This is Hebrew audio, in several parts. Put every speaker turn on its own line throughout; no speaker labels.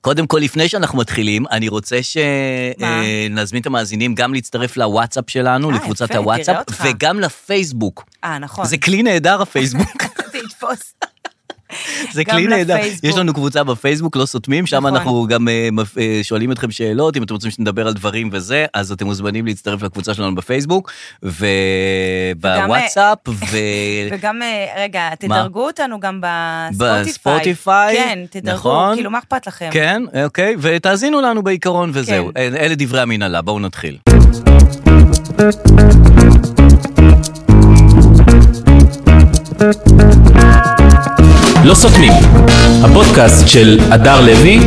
קודם כל, לפני שאנחנו מתחילים, אני רוצה
מה?
שנזמין את המאזינים גם להצטרף לוואטסאפ שלנו,
אה,
לקבוצת
יפה, נראה
הוואטסאפ,
אותך.
וגם לפייסבוק.
אה, נכון.
זה כלי נהדר, הפייסבוק.
זה יתפוס.
זה
גם
כלי נהדר.
לפייסבוק.
יש לנו קבוצה בפייסבוק, לא סותמים, שם
נכון.
אנחנו גם אה, מפ- אה, שואלים אתכם שאלות, אם אתם רוצים שנדבר על דברים וזה, אז אתם מוזמנים להצטרף לקבוצה שלנו בפייסבוק, ובוואטסאפ, ו...
אה, וגם, אה, רגע, תדרגו אותנו גם בספוטיפיי.
בספוטיפיי,
כן, תדרגו,
נכון.
כאילו, מה אכפת לכם?
כן, אוקיי, ותאזינו לנו בעיקרון וזהו.
כן.
אלה דברי המנהלה, בואו נתחיל.
לא סותמים, הפודקאסט של הדר לוי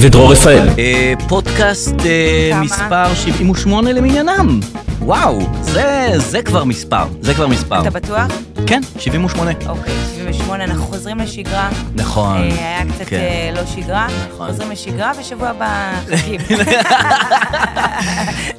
ודרור רפאל.
אה, פודקאסט אה,
כמה?
מספר 78 למניינם. וואו, זה, זה כבר מספר, זה כבר מספר.
אתה בטוח?
כן, 78.
אוקיי, 78, אנחנו חוזרים לשגרה.
נכון.
אה, היה קצת
כן.
אה, לא שגרה.
נכון.
חוזרים לשגרה, ושבוע הבא חכים.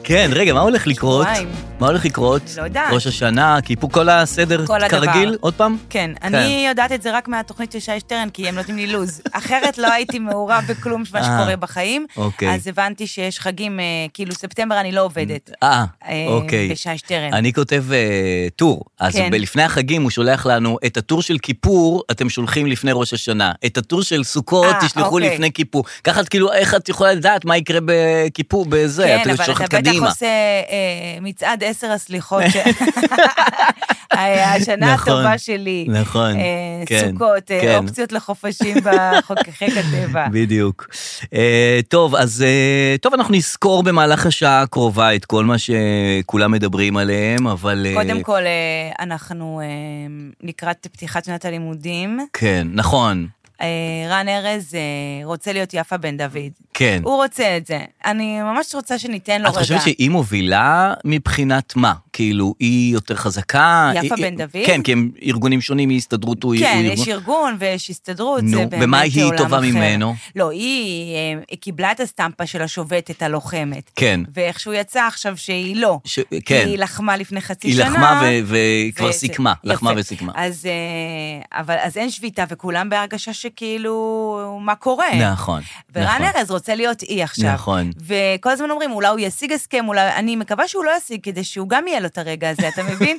כן, רגע, מה הולך לקרות?
אה, שבועיים.
מה הולך לקרות?
לא יודעת.
ראש השנה, כיפור, כל הסדר
כל הדבר.
כרגיל? עוד פעם?
כן, אני יודעת את זה רק מהתוכנית של שי שטרן, כי הם נותנים לי לו"ז. אחרת לא הייתי מעורב בכלום מה
אה,
שקורה בחיים.
אוקיי.
אז הבנתי שיש חגים, אה, כאילו, ספטמבר אני לא עובדת.
אה,
אה,
אוקיי.
בשי שטרן.
אני כותב אה, טור, אז
כן.
ב- לפני החגים הוא שולח לנו, את הטור של כיפור אתם שולחים לפני ראש השנה, את הטור של סוכות
אה,
תשלחו
אוקיי.
לפני כיפור. ככה את כאילו, איך את יכולה לדעת מה יקרה בכיפור, בזה,
כן,
את
אבל אתה
שולחת
בטח
קדימה.
עושה אה, מצעד עשר הסליחות. ש- אה, השנה
נכון,
הטובה שלי.
נכון,
אה,
כן,
סוכות, אה,
כן.
אופציות לחופשים בחוקי הטבע.
בדיוק. אה, טוב, אז אה, טוב, אנחנו נזכור במהלך השעה הקרובה את כל מה שכולם מדברים עליהם, אבל... אה,
קודם כל, אה, אנחנו אה, לקראת פתיחת שנת הלימודים.
כן, נכון,
אה, רן ארז אה, רוצה להיות יפה בן דוד.
כן.
הוא רוצה את זה. אני ממש רוצה שניתן לו
את חושבת
לא רגע.
שהיא מובילה מבחינת מה? כאילו, היא יותר חזקה?
יפה
היא-
בן דוד?
כן, כי הם ארגונים שונים, היא הסתדרות, הוא
כן,
הוא
יש ארגון ויש הסתדרות, זה
נו,
באמת
במה היא
עולם
טובה
אחר.
ממנו?
לא, היא, אה, היא קיבלה את הסטמפה של השובתת הלוחמת.
כן.
ואיכשהו יצא עכשיו שהיא לא.
ש- כן.
כי היא לחמה לפני חצי
היא
שנה.
לחמה ו- וכבר
ו-
סיכמה,
יפה.
לחמה וסיכמה.
אז, אה, אבל, אז אין שביתה, וכולם בהרגשה שכאילו, מה קורה?
נכון,
אה, ורן
נכון.
ארז רוצה להיות אי עכשיו.
נכון.
וכל הזמן אומרים, אולי הוא ישיג הסכם, אולי... אני מקווה שהוא לא ישיג, כדי שהוא גם יהיה לו את הרגע הזה, אתה מבין?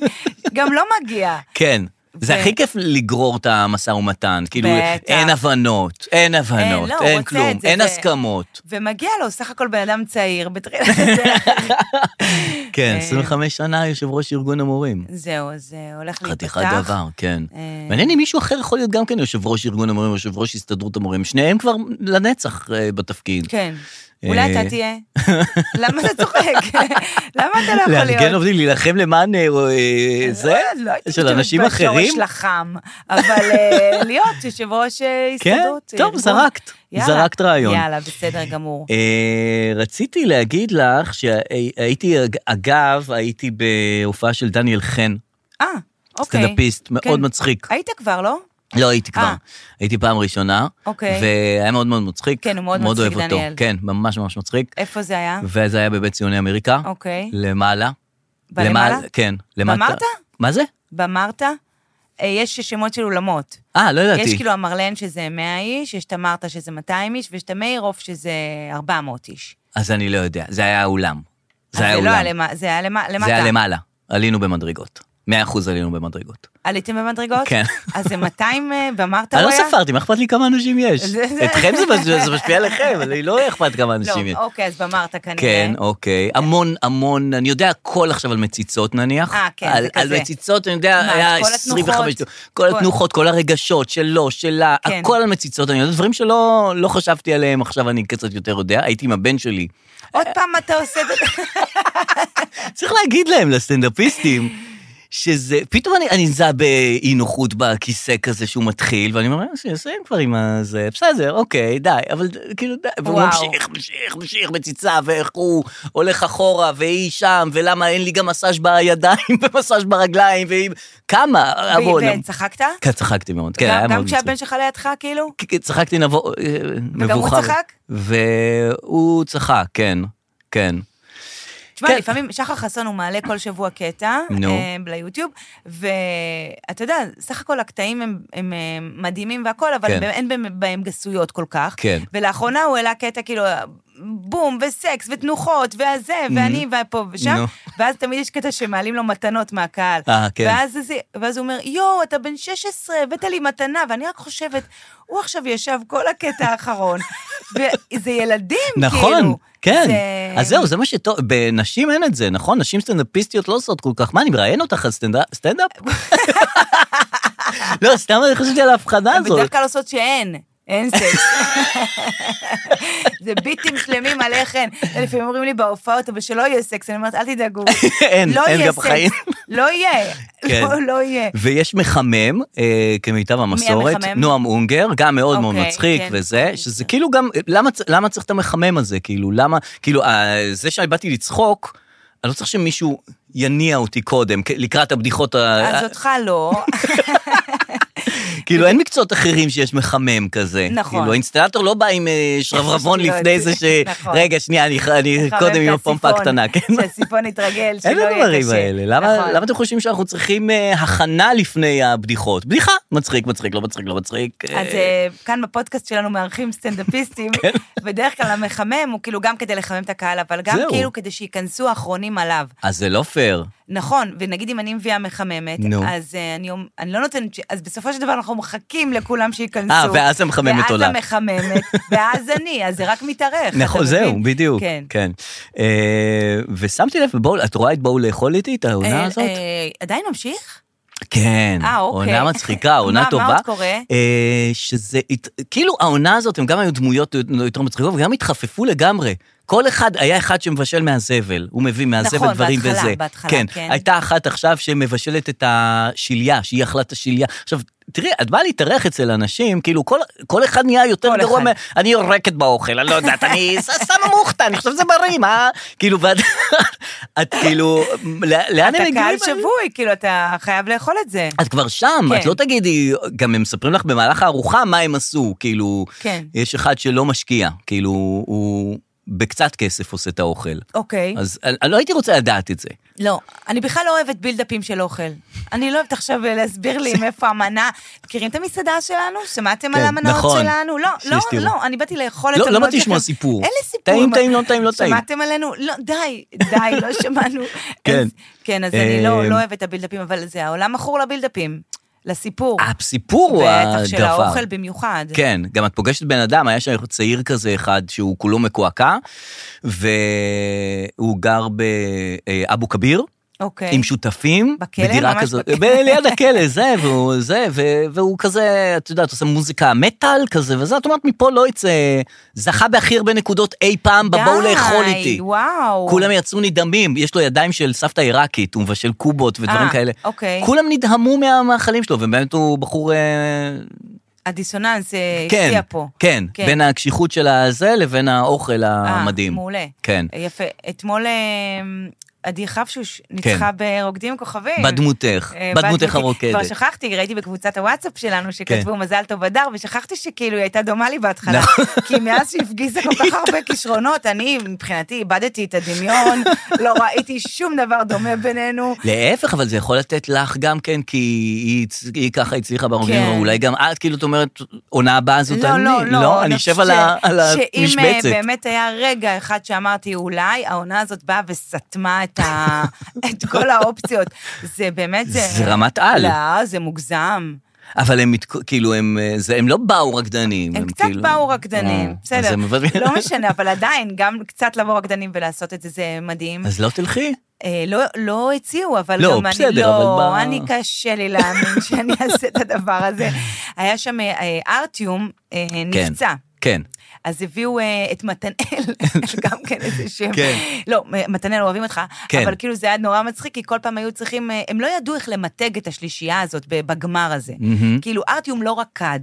גם לא מגיע.
כן. זה
ו-
הכי כיף לגרור את המשא ומתן, כאילו
בטח.
אין הבנות, אין הבנות,
לא, הוא
אין
רוצה
כלום,
את זה,
אין
ו-
הסכמות.
ומגיע לו, סך הכל בן אדם צעיר, בתחילת הדרך.
כן,
אה,
25 שנה יושב ראש ארגון המורים.
זהו, אז אה, הולך להיפתח.
חתיכת דבר, כן.
אה,
מעניין אם מישהו אחר יכול להיות גם כן יושב ראש ארגון המורים, יושב ראש הסתדרות המורים, שניהם כבר לנצח אה, בתפקיד.
כן. אולי
אה,
אתה תהיה. למה אתה צוחק? למה אתה לא יכול
לארגן
להיות?
עובדים, להילחם למען אה, אה, זה,
לא הייתי
של
משתמשת
אנשים
בשורש
אחרים.
לחם, אבל אה, להיות יושב ראש אה,
כן,
הסתדרות. אה,
טוב,
ארגון.
זרקת,
יאללה.
זרקת רעיון.
יאללה, בסדר גמור.
אה, רציתי להגיד לך שהייתי, אגב, הייתי בהופעה של דניאל חן,
אה, אוקיי.
סטנדאפיסט, מאוד
כן.
מצחיק.
היית כבר, לא?
לא הייתי כבר,
אה.
הייתי פעם ראשונה,
אוקיי.
והיה מאוד מאוד מצחיק.
כן, הוא מאוד מצחיק,
אוהב אותו,
דניאל.
כן, ממש ממש מצחיק.
איפה זה היה?
וזה היה בבית ציוני אמריקה,
אוקיי.
למעלה.
בלמעלה?
למעלה- כן, למטה.
במרתא?
מה זה?
במרתא? אה, יש שמות של אולמות.
אה, לא ידעתי.
יש כאילו המרלן שזה 100 איש, יש את המרתא שזה 200 איש, ויש את המאירוף שזה 400 איש.
אז אני לא יודע, זה היה האולם.
אז
זה היה
לא
אולם.
למע- זה היה למע- למטה.
זה היה למעלה. עלינו במדרגות. 100% עלינו במדרגות.
עליתם במדרגות?
כן.
אז זה 200 אה, במרתא
אני
הוא
לא
היה?
ספרתי, מה אכפת לי כמה אנשים יש?
זה- זה-
אתכם זה מש- זה משפיע עליכם, אני לא אכפת כמה אנשים יש.
לא, אוקיי, אז במרתא כנראה.
כן, אוקיי. המון, המון, אני יודע הכל עכשיו על מציצות נניח.
אה, כן,
על-
זה
על
כזה.
מציצות, אני יודע,
מה,
היה
את כל
25...
התנוחות?
כל
כל-
התנוחות, כל הרגשות, שלו, שלה,
כן.
הכל על מציצות, אני יודע דברים שלא לא חשבתי עליהם, עכשיו אני קצת יותר יודע. הייתי עם הבן שלי.
עוד פעם אתה עושה את זה.
צריך להגיד להם, לסטנדאפיסטים, שזה, פתאום אני- אני נזע באי נוחות בכיסא כזה שהוא מתחיל, ואני אומר, שיסיים כבר עם הזה, בסדר, אוקיי, די, אבל כאילו, די, והוא
וואו.
ממשיך, ממשיך, ממשיך מציצה, ואיך הוא הולך אחורה, והיא שם, ולמה אין לי גם מסאז' בידיים ומסאז' ברגליים, והיא... כמה, המון.
וצחקת?
כן, צחקתי מאוד, אה, כן,
גם-
היה מאוד
גם
מצחיק.
כשהבן שלך לידך, כאילו?
כן, צחקתי נבוא, אה,
וגם הוא
מבוכר.
צחק?
והוא צחק, כן, כן.
תשמע,
כן.
לפעמים שחר חסון הוא מעלה כל שבוע קטע,
נו.
אה, ליוטיוב, ואתה יודע, סך הכל הקטעים הם, הם אה, מדהימים והכל, אבל
כן.
כן. אין בהם, בהם גסויות כל כך.
כן.
ולאחרונה הוא העלה קטע כאילו, בום, וסקס, ותנוחות, והזה, ואני, ופה ושם,
Mm-hmm. נו.
ואז תמיד יש קטע שמעלים לו מתנות מהקהל.
אה, כן.
ואז, זה, ואז הוא אומר, יואו, אתה בן 16, הבאת לי מתנה, ואני רק חושבת, הוא עכשיו ישב כל הקטע האחרון, וזה ילדים, כאילו.
נכון, כן.
זה-
אז זהו, זה מה שטוב. בנשים אין את זה, נכון? נשים סטנדאפיסטיות לא עושות כל כך. מה, אני מראיין אותך על סטנד- סטנדאפ? לא, סתם אני חשבתי על ההבחנה
הן בדרך
הזאת.
כלל עושות שאין. אין סקס. זה ביטים שלמים על איך אין. לפעמים אומרים לי בהופעות, אבל שלא יהיה סקס, אני אומרת, אל תדאגו.
אין,
לא
אין
יהיה
גם
סקס.
בחיים.
לא יהיה.
כן.
לא- לא יהיה.
ויש מחמם, אה, כמיטב המסורת,
המחמם?
נועם אונגר, גם מאוד מאוד
אוקיי,
מצחיק
כן.
וזה, שזה כאילו גם, למה צ- למה צריך את המחמם הזה? כאילו, למה, כאילו, אה, זה שבאתי לצחוק, אני לא צריך שמישהו יניע אותי קודם, כ- לקראת הבדיחות, ה-
אז אותך לא.
כאילו, אין מקצועות אחרים שיש מחמם כזה.
נכון.
כאילו, האינסטלטור לא בא עם אה, שרברבון
לא,
לפני זה ש...
נכון.
רגע, שנייה, אני- אני
לחמם
קודם
את
עם הפומפה
הסיפון,
הקטנה, כן?
שהסיפון יתרגל, שלא
אין
יהיה קשה.
הדברים האלה. למה
נכון.
למה אתם חושבים שאנחנו צריכים אה, הכנה לפני הבדיחות? בדיחה, מצחיק, מצחיק, לא מצחיק, לא מצחיק. אה,
אז אה, כאן בפודקאסט שלנו מארחים סטנדאפיסטים,
כן.
בדרך כלל המחמם הוא כאילו גם כדי לחמם את הקהל, אבל גם
זהו.
כאילו כדי שייכנסו האחרונים עליו.
אז זה לא פייר.
נכון, ונגיד אם אני מביאה מחממת,
נו.
אז אה, אני, אומ- אני לא נותנת, ש- אז בסופו של דבר אנחנו מחכים לכולם שייכנסו.
אה, ואז המחממת עולה.
ואז המחממת, ואז אני, אז זה רק מתארך.
נכון,
אתה
זהו,
מבין?
בדיוק.
כן.
כן. אה, ושמתי לב, בואו, את רואה את בואו לאכול איתי, את העונה
אה,
הזאת?
אה, עדיין ממשיך?
כן,
אה, אוקיי.
עונה מצחיקה, עונה
מה-
טובה.
מה עוד קורה?
אה, שזה, הת- כאילו העונה הזאת, הם גם היו דמויות יותר מצחיקות, וגם התחפפו לגמרי. כל אחד, היה אחד שמבשל מהזבל, הוא מביא מהזבל
נכון,
דברים
בהתחלה,
וזה.
בהתחלה, כן.
הייתה אחת עכשיו שמבשלת את השליה, שהיא אכלת השליה. עכשיו, תראי, את באה להתארח אצל אנשים, כאילו כל, כל אחד נהיה יותר
כל
גרוע,
אחד.
מה- אני יורקת באוכל, אני לא יודעת, אני ש- שמה מוכתה, אני חושב שזה בריא, מה? כאילו, ואת, את כאילו, לאן
אתה
הם מגיעים?
קהל שבוי, כאילו, אתה חייב לאכול את זה.
את כבר שם,
כן.
את לא תגידי, גם הם מספרים לך במהלך הארוחה מה הם עשו, כאילו,
כן.
יש אחד שלא משקיע, כאילו, הוא בקצת כסף עושה את האוכל.
אוקיי.
אז אני אני לא הייתי רוצה לדעת את זה.
לא, אני בכלל לא אוהבת בילדאפים של אוכל. אני לא אוהבת עכשיו להסביר לי מאיפה המנה. מכירים את המסעדה שלנו? שמעתם על
כן,
המנות
נכון.
שלנו? לא, לא,
שהסתירו.
לא, אני באתי לאכול את
לא- לא
המנות
באתי לשמוע
שלכם.
סיפור.
אין לי סיפור.
טעים,
מה-
טעים, לא טעים, לא טעים.
שמעתם עלינו? לא, די, די, לא שמענו.
כן.
אז- כן, אז אני לא
אה,
לא אוהבת את הבילדאפים, אבל זה העולם מכור לבילדאפים, לסיפור.
הסיפור הוא הדבר.
בטח של האוכל במיוחד.
אה, כן, גם את פוגשת בן אדם, היה שם צעיר כזה אחד שהוא כולו מקועקע, והוא גר באבו כביר.
אוקיי.
עם שותפים,
בכלא?
בדירה
ממש
כזאת,
בכלא.
ב- ליד הכלא, זה, והוא, זה, ו- והוא כזה, את יודעת, עושה מוזיקה מטאל כזה, וזה, את אומרת, מפה לא יצא, זכה בהכי הרבה נקודות אי פעם בבואו
די,
לאכול איתי.
וואו.
כולם יצאו נדהמים, יש לו ידיים של סבתא עיראקית, הוא מבשל קובות ודברים
אה,
כאלה.
אוקיי.
כולם נדהמו מהמאכלים שלו, ובאמת הוא בחור... אה,
הדיסוננס אה,
כן,
הפתיע פה.
כן,
כן.
בין הקשיחות של הזה לבין האוכל
אה,
המדהים.
מעולה.
כן.
יפה. אתמול אה, עדי חפשוש ניצחה
כן.
ברוקדים עם כוכבים.
בדמותך,
אה,
בדמותך
דמותי. כבר
הרוקדת.
שכחתי, ראיתי בקבוצת הוואטסאפ שלנו שכתבו
כן.
מזל טוב הדר, ושכחתי שכאילו היא הייתה דומה לי בהתחלה.
נכון.
כי מאז שהפגיזה כל כך הרבה כישרונות, אני מבחינתי איבדתי את הדמיון, לא ראיתי שום דבר דומה בינינו.
להפך, אבל זה יכול לתת לך גם כן, כי היא, הצ- היא ככה הצליחה ברוגעים,
כן.
אולי גם את, כאילו, את אומרת, עונה הבאה זאת
לא,
אני.
לא, לא,
אני
חושבת
אשב על, ה, על
ש- שאם אה,
המשבצת.
באמת היה רגע אחד שאמרתי, אולי העונה הזאת באה וסתמה את, ה... את כל האופציות. זה באמת, זה...
זה רמת על.
לא, זה מוגזם.
אבל הם, מתק- כאילו, הם, אה, זה, הם לא באו רקדנים.
הם קצת
כאילו...
באו רקדנים,
אה, אז,
בסדר.
הם... מבטלים.
לא משנה, אבל עדיין, גם קצת לבוא רקדנים ולעשות את זה, זה מדהים.
אז לא תלכי.
אה, לא- לא הציעו, אבל
לא,
גם אני
בסדר, אבל
לא,
ב-
אני קשה לי להאמין שאני אעשה את הדבר הזה. היה שם אה, ארטיום, אה,
כן.
נפצע.
כן.
אז הביאו אה, את מתנאל, גם כן איזה שם.
כן.
לא, מ- מתנאל, אוהבים אותך,
כן.
אבל כאילו זה היה נורא מצחיק, כי כל פעם היו צריכים, אה, הם לא ידעו איך למתג את השלישייה הזאת ב- בגמר הזה.
מהמם.
כאילו, ארטיום לא רקד,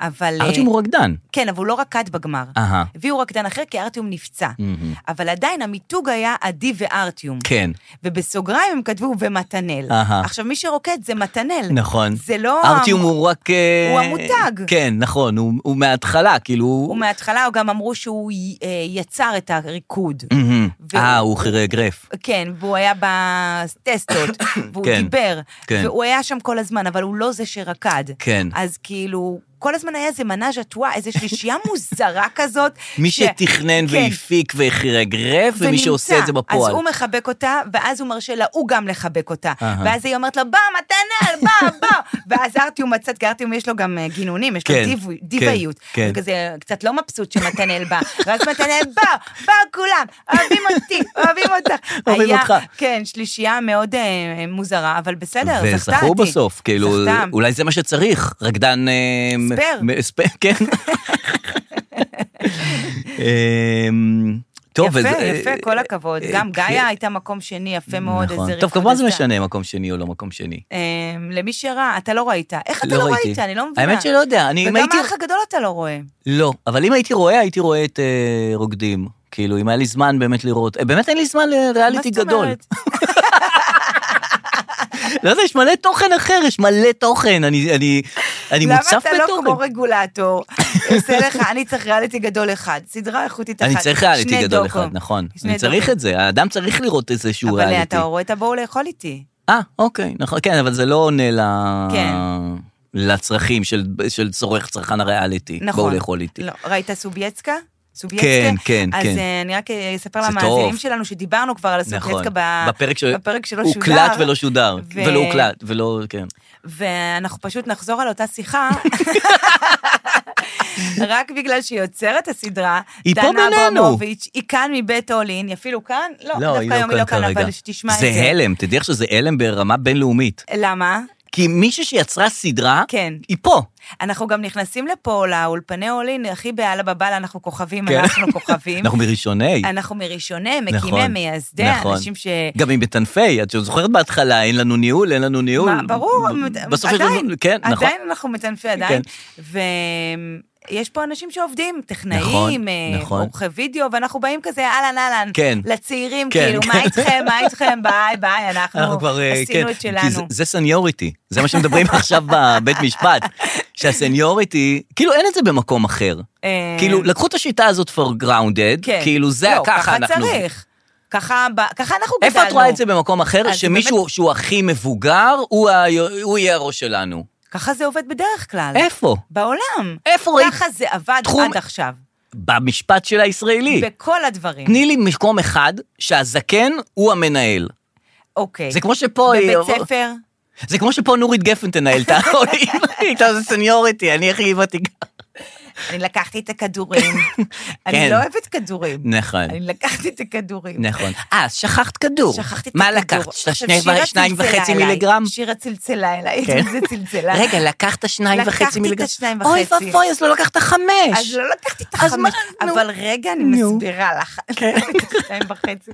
אבל... אה,
ארטיום הוא רקדן.
כן, אבל הוא לא רקד בגמר.
אהה.
הביאו רקדן אחר כי ארטיום נפצע.
מהמם.
אבל עדיין המיתוג היה עדי וארטיום.
כן.
ובסוגריים הם כתבו ומתנאל.
אהה.
עכשיו, מי שרוקד זה מתנאל.
נכון.
זה לא...
ארטיום הוא רק... אה,
הוא המותג.
כן, נכון, הוא, הוא מההתחלה, כאילו...
ומההתחלה גם אמרו שהוא י- אה, יצר את הריקוד.
מהמם.
והוא-
אה, הוא חירגרף.
כן, והוא היה בטסטות, והוא
כן,
דיבר,
כן.
והוא היה שם כל הזמן, אבל הוא לא זה שרקד.
כן.
אז כאילו, כל הזמן היה איזה מנאז' הטואה, איזו שלישייה מוזרה כזאת.
מי
ש-
שתכנן
כן,
והפיק וחירגרף, ומי
ונמצא.
שעושה את זה בפועל.
אז הוא מחבק אותה, ואז הוא מרשה לה, הוא גם לחבק אותה.
אהה.
ואז היא אומרת לו, בוא, מתנה, בוא, בוא. ואז ארטיום מצא, כי ארטיום יש לו גם אה, גינונים, יש לו
כן,
דיב-
כן,
דיוויות.
כן.
הוא כזה קצת לא מבסוט שמתנאל בא. ואז מתנאל, בוא, בוא כולם, אוהבים אותי, אוהבים אותך.
אוהבים
היה-
אותך.
כן, שלישייה מאוד אה, מוזרה, אבל בסדר, זכתה אותי.
וזכו בסוף, כאילו,
זכתה.
אולי זה מה שצריך, רקדן... אה, מ-
ספייר.
מ- ספייר, כן. אה, טוב,
יפה,
אז, אה,
יפה, כל הכבוד.
אה, כן.
גם גאיה הייתה מקום שני, יפה מאוד, איזה
נכון.
ריקוד
טוב, כמובן זה
עשה.
משנה מקום שני או לא מקום שני.
אה, למי שראה, אתה לא ראית. איך אתה לא ראית? אני לא מבינה.
האמת שלא יודע, אני אם
וגם
הייתי...
האח הגדול אתה לא רואה.
לא, אבל אם הייתי רואה, הייתי רואה את אה, רוקדים. כאילו, אם היה לי זמן באמת לראות. אה, באמת אין לי זמן לריאליטי
מה זאת
גדול.
אומרת?
לא יודע, יש מלא תוכן אחר, יש מלא תוכן, אני, אני, אני
למה
מוצף
אתה לא
בתוכן.
כמו רגולטור? עושה לך, אני צריך ריאליטי גדול אחד, סדרה איכותית אחת.
אני צריך ריאליטי
שני
גדול
דוקו.
אחד, נכון.
שני
אני צריך
דוקו.
את זה, האדם צריך לראות איזשהו
אבל
ריאליטי.
אתה רואה את הבואו לאכול איתי.
אה, אוקיי, נכון, כן, אבל זה לא עונה ל...
כן.
לצרכים של, של צורך צרכן הריאליטי.
נכון.
בואו לאכול איתי.
לא, ראית סוביאצקה? סוביאצקה?
כן, כן,
אז
כן.
אה, אני רק אספר
זה
למאזינים
טוב.
שלנו שדיברנו כבר על
נכון.
הסוביאצקה ב-
בפרק, ש...
בפרק שלא
הוא
שודר.
הוקלט ולא שודר.
ו-
ולא הוקלט, ולא, כן.
ואנחנו פשוט נחזור על אותה שיחה. רק בגלל שהיא יוצרת הסדרה,
היא פה
דנה
בינינו.
אברמוביץ', היא כאן מבית אולין, היא אפילו כאן? לא, דווקא היום היא לא כאן, אבל שתשמע את
זה
זה.
הלם, תדעי לך שזה הלם ברמה בינלאומית.
למה?
כי מישהי שיצרה סדרה,
כן.
היא פה.
אנחנו גם נכנסים לפה, לאולפני אולין, הכי בעלה בבעלה, אנחנו כוכבים,
כן.
אנחנו כוכבים.
אנחנו מראשוני.
אנחנו מראשוני, מקימי,
נכון,
מייסדי,
נכון.
אנשים ש...
גם עם בטנפי, את זוכרת בהתחלה, אין לנו ניהול, אין לנו ניהול.
מה, ברור,
ב- בסוף יש
עדיין,
לנו, כן, נכון.
עדיין אנחנו מטנפי עדיין. ויש פה אנשים שעובדים, טכנאים,
נכון,
אה,
נכון.
עורכי וידאו, ואנחנו באים כזה, אהלן, אהלן,
כן.
לצעירים,
כן,
כאילו,
כן.
מה איתכם, מה איתכם, ביי, ביי,
אנחנו
אנחנו
כבר, אה,
עשינו
כן,
את
כי זה-
שלנו.
זה סניוריטי, זה מה שמדברים עכשיו בבית משפט, שהסניוריטי, כאילו אין את זה במקום אחר.
אה,
כאילו, לקחו את השיטה הזאת for grounded,
כן.
כאילו זה
לא,
ככה אנחנו...
ככה צריך. ככה ב- ככה אנחנו גדלנו.
איפה את רואה את זה במקום אחר,
אז
שמישהו
באמת-
שהוא הכי מבוגר, הוא ה- הוא יהיה הראש שלנו?
ככה זה עובד בדרך כלל.
איפה?
בעולם.
איפה ראית?
ככה זה עבד
תחום-
עד עכשיו.
במשפט של הישראלי.
בכל הדברים.
תני לי מקום אחד שהזקן הוא המנהל.
אוקיי.
זה כמו שפה... היא-
בבית ספר.
זה כמו שפה נורית גפן תנהל את ההורים. היא הייתה סניוריטי, אני הכי ותיקה.
אני לקחתי את הכדורים. אני
כן.
לא אוהבת כדורים.
נכון,
אני לקחתי את הכדורים.
נכון. אה, אז שכחת כדור.
שכחתי את
מה
הכדור.
לקחת?
עכשיו,
שני-
שירה
שניים
צלצלה
וחצי
אליי.
מיליגרם?
שירה צלצלה אליי,
כן.
זה צלצלה.
רגע, לקחת שניים
לקחתי
וחצי
את
מיליגרם.
השניים
אוי
וחצי.
ואבוי, אז לא לקחת חמש.
אז לא לקחתי את
אז מה,
החמש,
נו.
אבל רגע, אני
נו.
מסבירה לך.
כן.
שתיים וחצי.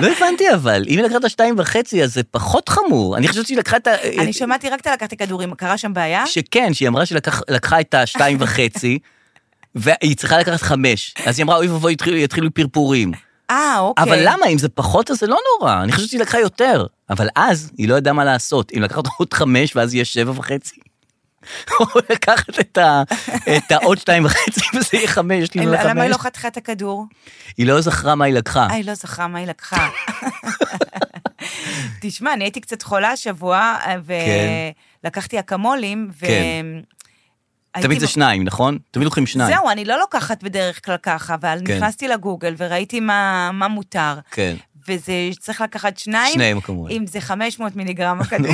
לא הבנתי אבל, אם היא לקחה את השתיים וחצי, אז זה פחות חמור. אני חושבת שהיא לקחה את ה...
אני שמעתי רק את הלקחתי כדורים, קרה שם בעיה?
שכן, שהיא אמרה שלקחה את השתיים וחצי, והיא צריכה לקחת חמש. אז היא אמרה, אוי ואבוי, יתחילו- יתחילו פרפורים.
אה, אוקיי.
אבל למה, אם זה פחות, אז זה לא נורא. אני חושבת שהיא לקחה יותר. אבל אז, היא לא ידעה מה לעשות. אם לקחת עוד חמש, ואז יהיה שבע וחצי. או לקחת את ה- את העוד שתיים וחצי, וזה יהיה חמש, יש לי
למה היא
חמש.
לא חתכה את הכדור?
היא לא זכרה מה היא לקחה.
אה, היא לא זכרה מה היא לקחה. תשמע, אני הייתי קצת חולה השבוע, אה,
כן.
ולקחתי אקמולים, ו...
כן. תמיד זה
הייתי-
שניים, נכון? תמיד לוקחים שניים.
זהו, אני לא לוקחת בדרך כלל ככה, אבל
כן.
נכנסתי לגוגל וראיתי מה, מה מותר.
כן.
וזה צריך לקחת שניים.
שניים, כמובן.
אם זה 500 מיליגרם הכדור.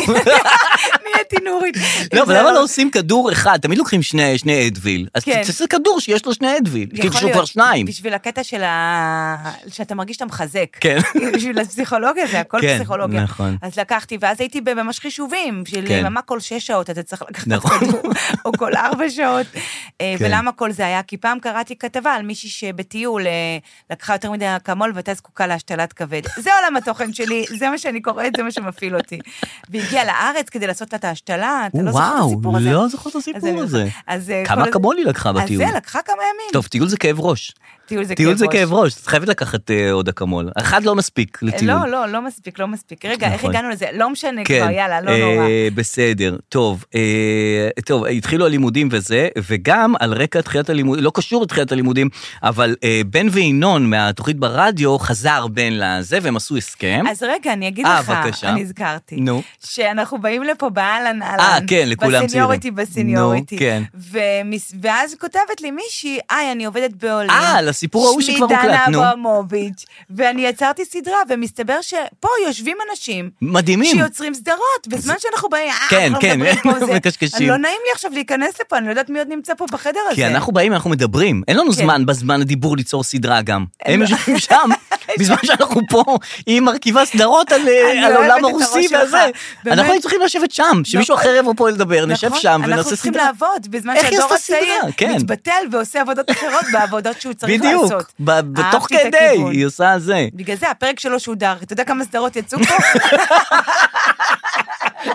נהייתי נורית.
לא,
אם זה
אבל למה לא עושים כדור אחד? תמיד לוקחים שני שני אדוויל. אז
כן.
תעשה כדור שיש לו שני אדוויל. כאילו
יכול
שהוא
להיות,
כבר שניים.
בשביל הקטע של ה... שאתה מרגיש שאתה מחזק.
כן.
כאילו, בשביל הפסיכולוגיה, זה הכל
כן,
פסיכולוגיה.
נכון.
אז לקחתי, ואז הייתי בממש חישובים, של
כן.
למה כל שש שעות אתה צריך לקחת
נכון.
כדור, או כל ארבע שעות, אה,
כן.
ולמה כל זה היה, כי פעם קראתי כתבה על מישהי שבטיול אה, לקחה יותר מדי אקמול והייתה זקוקה להשתלת כבד. זה עולם התוכן שלי, זה מה שאני קוראת, זה מה שמפעיל אותי. והגיעה לארץ כדי לעשות לה את ההשתלה, אתה לא זוכר את
וואו,
הסיפור הזה?
לא זוכר את
אז אני-
הסיפור הזה.
אז, אה, כל
כמה
הז-
כמוני לקחה
אז
בטיול.
זה לקחה כמה ימים.
טוב, טיול זה כאב ראש.
טיול זה כאב
טיול
ראש.
זה כאב ראש, את חייבת לקחת אה, עוד אקמול. אחד לא מספיק לטיול.
לא, לא, לא מספיק, לא מספיק. רגע, איך
נכון.
הגענו לזה? לא משנה
כן.
כבר, יאללה, לא
אה,
נורא.
בסדר, טוב. אה, טוב, התחילו הלימודים וזה, וגם על רקע תחילת הלימודים, לא קשור לתחילת הלימודים, אבל אה, בן וינון מהתוכנית ברדיו חזר בן לזה, והם עשו הסכם.
אז רגע, אני אגיד
אה,
לך,
בבקשה.
אני הזכרתי,
נו.
שאנחנו באים לפה באהלן אהלן.
אה, כן, לכולם צעירים.
בסניוריטי, בסניוריטי.
נו, כן.
ומס- ואז כותבת לי מישהי, היי, אני עובדת בעולים.
אה, לסיפור ההוא שכבר
שמי
הוקלט,
דנה
נו.
אברמוביץ', ואני יצרתי סדרה, ומסתבר שפה יושבים אנשים.
מדהימים.
שיוצרים סדרות, בזמן שאנחנו באים, אה,
כן,
אנחנו
כן,
מדברים פה, זה-
מקשקשים.
לא נעים לי עכשיו להיכנס לפה, אני לא יודעת מי עוד נמצא פה בחדר הזה.
כי אנחנו באים, אנחנו מדברים. אין לנו
כן. לא.
זמן בזמן הדיבור ליצור סדרה גם. הם יושבים שם, בזמן שאנחנו פה, היא מרכיבה סדרות על אה, על
אני אוהבת
העולם
את הראש
הרוסי
שלך.
והזה.
באמת.
אנחנו היינו צריכים לשבת שם, שמישהו
נכון.
אחר יבוא פה לדבר, נשב
נכון,
שם ונעשה
אנחנו צריכים
סדרה.
לעבוד, בזמן
איך היא
שהדור
עשתה סדרה?
הצעיר
כן.
מתבטל ועושה עבודות אחרות בעבודות שהוא צריך
בדיוק,
לעשות. אה,
ב- בתוך
אהבתי את
כדי,
הכיוון.
היא עושה זה.
בגלל זה הפרק שלו שודר, אתה יודע כמה סדרות יצאו פה?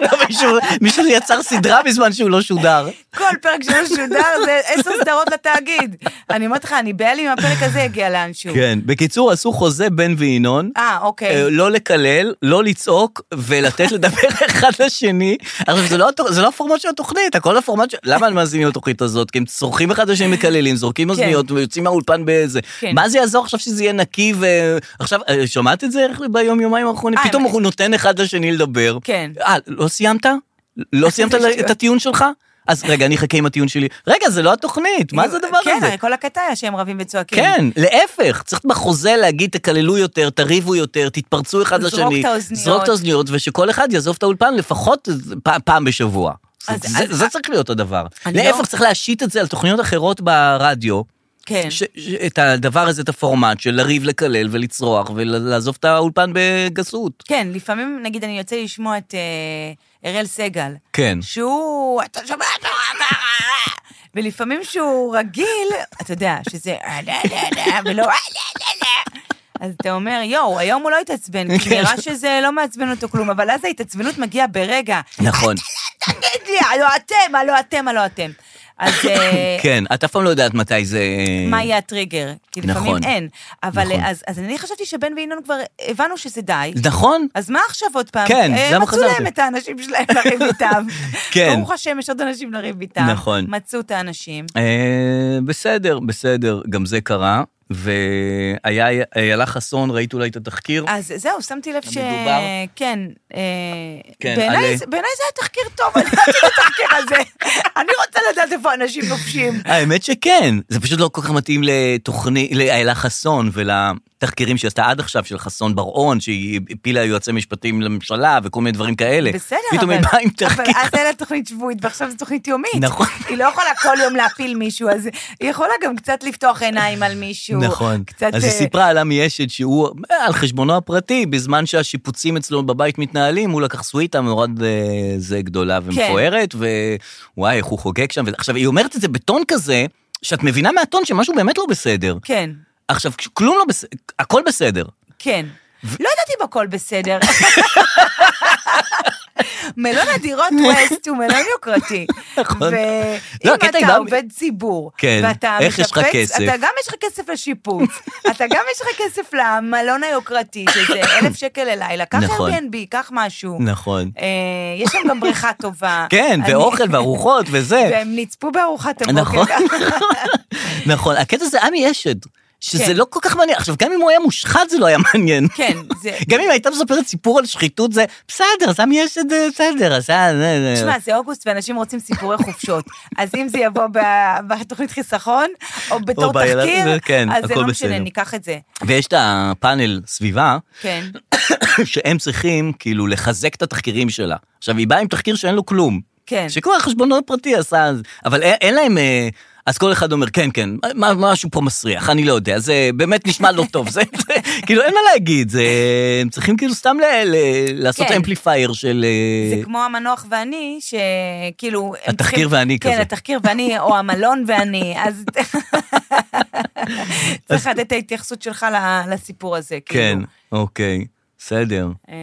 לא, מישהו- מישהו יצר סדרה בזמן שהוא לא שודר.
כל פרק שלו שודר זה עשר סדרות לתאגיד. אני אומרת לך, אני בהלם אם הפרק הזה יגיע לאנשהו.
כן. בקיצור, עשו חוזה בן וינון.
אה,
אה,
אוקיי.
לא לקלל, לא לצעוק ולתת לדבר אחד לשני. עכשיו, זה לא, התוכ- זה לא הפורמט של התוכנית, הכל הפורמט של... למה הם מאזינים לתוכנית הזאת? כי הם צורכים אחד לשני מקללים, זורקים אוזניות ויוצאים מהאולפן באיזה...
כן.
מה זה יעזור עכשיו שזה יהיה נקי ו... עכשיו, אה, שמעת את זה איך ביום יומיים האחרונים?
אה,
פתאום
הם-
הוא נותן אחד לשני לדבר.
כן.
אה, לא סיימת? לא סיימת
זה שטויות.
את הטיעון שלך? אז רגע, אני אחכה עם הטיעון שלי. רגע, זה לא התוכנית, מה זה הדבר
כן,
הזה?
הרי כל הקטע היה שהם רבים וצועקים.
כן, להפך, צריך בחוזה להגיד, תקללו יותר, תריבו יותר, תתפרצו אחד
זרוק
לשני.
את האוזניות.
זרוק את האוזניות, ושכל אחד יעזוב את האולפן לפחות פ- פעם בשבוע.
אז-
זה,
אז-
זה צריך להיות הדבר.
אני
להפך,
לא-
צריך להשית את זה על תוכניות אחרות ברדיו.
כן.
ש, ש, את הדבר הזה, את הפורמט של לריב, לקלל ולצרוח ולעזוב את האולפן בגסות.
כן, לפעמים, נגיד, אני יוצא לשמוע את אה, אראל סגל.
כן.
שהוא, אתה שומע את הרמה, ולפעמים שהוא רגיל, אתה יודע, שזה אה, לא, לא, לא, ולא אה, לא, לא, לא. אז אתה אומר, יואו, היום הוא לא התעצבן, כי
כן.
נראה שזה לא מעצבן אותו כלום, אבל אז ההתעצבנות מגיעה ברגע.
נכון.
תגיד לי, הלא אתם, הלא אתם, הלא אתם. אז אה,
כן, את אף פעם לא יודעת מתי זה...
מה יהיה הטריגר? כי לפעמים
נכון.
אין. אבל
נכון.
אה, אז אז אני חשבתי שבן וינון כבר הבנו שזה די.
נכון?
אז מה עכשיו עוד פעם?
כן,
אה,
למה
מצאו
חזרתם?
להם את האנשים שלהם לריב איתם.
כן.
ברוך השם, יש עוד אנשים לריב איתם.
נכון.
מצאו את האנשים.
אה, בסדר, בסדר, גם זה קרה. והיה איילה חסון, ראית אולי את התחקיר?
אז זהו, שמתי לב ש...
המדובר.
כן. אה,
כן,
בעיניי
על-
זה- בעיניי זה היה תחקיר טוב, אני לא יודעת את התחקיר הזה. אני רוצה לדעת איפה אנשים נופשים.
האמת שכן, זה פשוט לא כל כך מתאים לתוכנית, לאיילה חסון ולתחקירים שהיא עשתה עד עכשיו של חסון בר-און, שהיא הפילה יועצי משפטים לממשלה וכל מיני דברים כאלה.
בסדר, אבל...
פתאום היא באה עם
אבל
תחקיר.
אז הייתה לה תוכנית שבועית, ועכשיו זו תוכנית יומית.
נכון.
היא לא יכולה כל יום להפיל מישהו, אז היא יכולה גם קצת לפתוח עיניים על מישהו.
נכון.
קצת...
אז היא
אה,
סיפרה על עמי אשד שהוא, אה, על חשבונו הפרטי, בזמן שהשיפוצים אצלו בבית מתנהלים, הוא לקח סוויטה מאוד אה, זה גדולה
כן.
ומפוארת, ווואי, איך הוא חוגג שם. וזה- עכשיו, היא אומרת את זה בטון כזה, שאת מבינה מהטון שמשהו באמת לא בסדר.
כן,
עכשיו, כלום לא בסדר, הכל בסדר.
כן. לא ידעתי אם הכל בסדר. מלון הדירות ווסט הוא מלון יוקרתי.
נכון. לא,
ואם
הקטע עם
אתה
ה-
עובד ציבור,
כן,
ואתה
איך יש לך
משפץ-
כסף?
אתה גם יש לך כסף לשיפוץ, אתה גם יש לך כסף למלון היוקרתי, שזה אלף שקל ללילה, קח
נכון.
Airbnb, קח משהו.
נכון.
אה, יש שם גם בריכה טובה.
כן,
אני-
ואוכל וארוחות וזה.
והם נצפו בארוחת הבוקר.
נכון. נכון, הקטע זה עמי אשד, שזה
כן.
לא כל כך מעניין. עכשיו, גם אם הוא היה מושחת זה לא היה מעניין.
כן, זה...
גם אם הייתה מספרת סיפור על שחיתות, זה בסדר, זה עמי אשד, אה, בסדר, אז אה, זה... זה-
תשמע, זה אוגוסט ואנשים רוצים סיפורי חופשות. אז אם זה יבוא ב- בתוכנית חיסכון, או בתור
בילד-
תחקיר,
זה- כן,
אז זה
הכל
לא משנה,
בסדר.
ניקח את זה.
ויש את הפאנל סביבה,
כן.
שהם צריכים כאילו לחזק את התחקירים שלה. עכשיו, היא באה עם תחקיר שאין לו כלום.
כן.
שכל החשבונו הפרטי עשה, אז- אבל אין, אין להם... אה, אז כל אחד אומר, כן, כן, מה, משהו פה מסריח, אני לא יודע, זה באמת נשמע לא טוב, זה, זה כאילו, אין מה להגיד, זה, הם צריכים כאילו סתם ל, ל, לעשות
כן.
אמפליפייר של... אה,
זה כמו המנוח ואני, שכאילו... הם
התחקיר
צריכים-
ואני
כן,
כזה.
התחקיר ואני, או המלון ואני, אז... צריך לתת את ההתייחסות שלך ל- לסיפור הזה,
כן,
כאילו.
אוקיי, בסדר.
אה,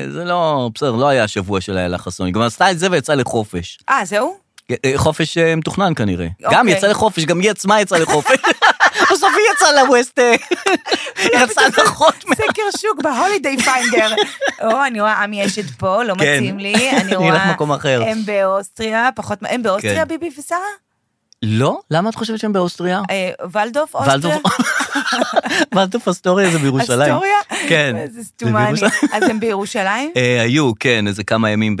אה, זה לא, בסדר, לא היה השבוע של איילה חסון, היא גם עשתה את זה ויצאה לחופש.
אה, זהו?
אה, חופש אה, מתוכנן כנראה.
אוקיי.
גם יצא לחופש, גם היא עצמה יצאה לחופש. אז בסוף היא יצאה לווסט, אה, היא רצה הנחות. מה-
סקר שוק בהולידיי פיינדר. או, אני רואה עמי אשת פה,
כן.
לא מתאים לי. אני
אני
רואה... אה,
אלך למקום אחר.
הם באוסטריה, פחות... הם באוסטריה,
כן.
ביבי ושרה?
לא? למה את חושבת שהם באוסטריה?
אה, ולדורף, אוסטריה?
ולדורף ולדורף אסטוריה זה בירושלים.
אסטוריה?
כן.
זה
זה
סתומה.
בירושלים.
אני- אז הם בירושלים?
אה, היו, כן, איזה כמה ימים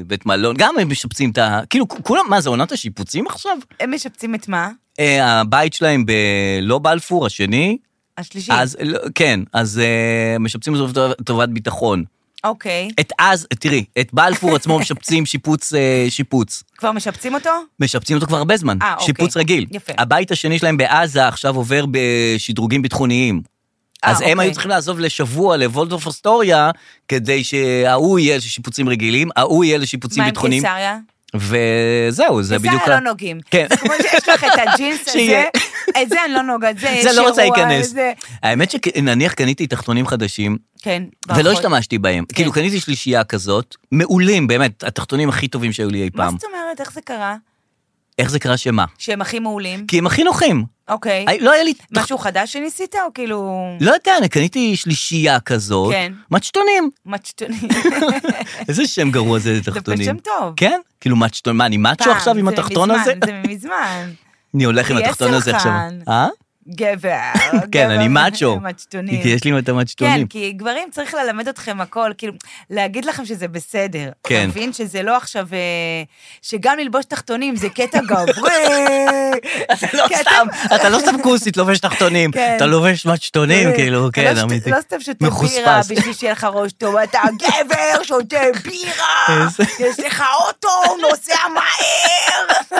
בבית מלון. גם הם משפצים את ה... כאילו, כ- כולם, מה, זה עונת השיפוצים עכשיו?
הם משפצים את מה?
אה, הבית שלהם בלא בלפור, השני.
השלישי.
אז, לא, כן, אז אה, משפצים את זה לטוב- לטובת ביטחון.
אוקיי.
את אז, תראי, את בלפור עצמו משפצים שיפוץ, אה, שיפוץ.
כבר משפצים אותו?
משפצים אותו כבר הרבה זמן,
אה, אוקיי.
שיפוץ רגיל.
יפה.
הבית השני שלהם בעזה עכשיו עובר בשדרוגים ביטחוניים.
אה,
אז הם
אוקיי.
היו צריכים לעזוב לשבוע לוולדורף אסטוריה, כדי שההוא יהיה לשיפוצים רגילים, ההוא יהיה לשיפוצים
מה עם
ביטחוניים.
קיסריה?
וזהו, זה בדיוק...
קיסריה
ה-
לא נוגעים.
כן.
זה כמו שיש לך את הג'ינס הזה,
שיהיה.
את זה אני לא נוגעת, זה יש
זה לא רוצה
אירוע,
להיכנס.
זה-
האמת שנניח קניתי תחתונים חדשים,
כן.
ולא
ברכות.
השתמשתי בהם.
כן.
כאילו, קניתי שלישייה כזאת, מעולים, באמת, התחתונים הכי טובים שהיו לי אי
מה
פעם.
זאת אומרת, איך זה קרה?
איך זה קרה שמה?
שהם הכי מעולים?
כי הם הכי נוחים.
אוקיי.
הי- לא היה לי...
משהו חדש שניסית, או כאילו...
לא יודע, אני קניתי שלישייה כזאת.
כן.
מצ'טונים.
מצ'טונים.
איזה שם גרוע זה לתחתונים.
שם טוב.
כן? כאילו מצ'טון, מה, אני מאצ'ו
פעם,
עכשיו עם
זה
התחתון
מזמן,
הזה?
זה מזמן.
אני הולך עם
תהיה
התחתון הזה עכשיו.
סלחן.
אה?
גבר.
כן,
גבר.
אני מאצ'ו.
מצ'טונים.
כי יש לי את
כן,
המצ'טונים.
כי גברים צריך ללמד אתכם הכל, כאילו, להגיד לכם שזה בסדר.
כן.
אתה מבין שזה לא עכשיו, אה, שגם ללבוש תחתונים זה קטע גברי.
אתה לא
כן. כי אתם-
סתם, אתה לא סתם כוסית לובש תחתונים,
כן.
אתה לובש מצ'טונים,
אה,
כאילו,
אתה
כן,
לא שת-
אמיתי.
לא סתם שותה בירה
מחוספס.
בשביל שיהיה לך ראש טוב, אתה גבר שותה בירה,
איזה-
יש לך אוטו, נוסע מהר.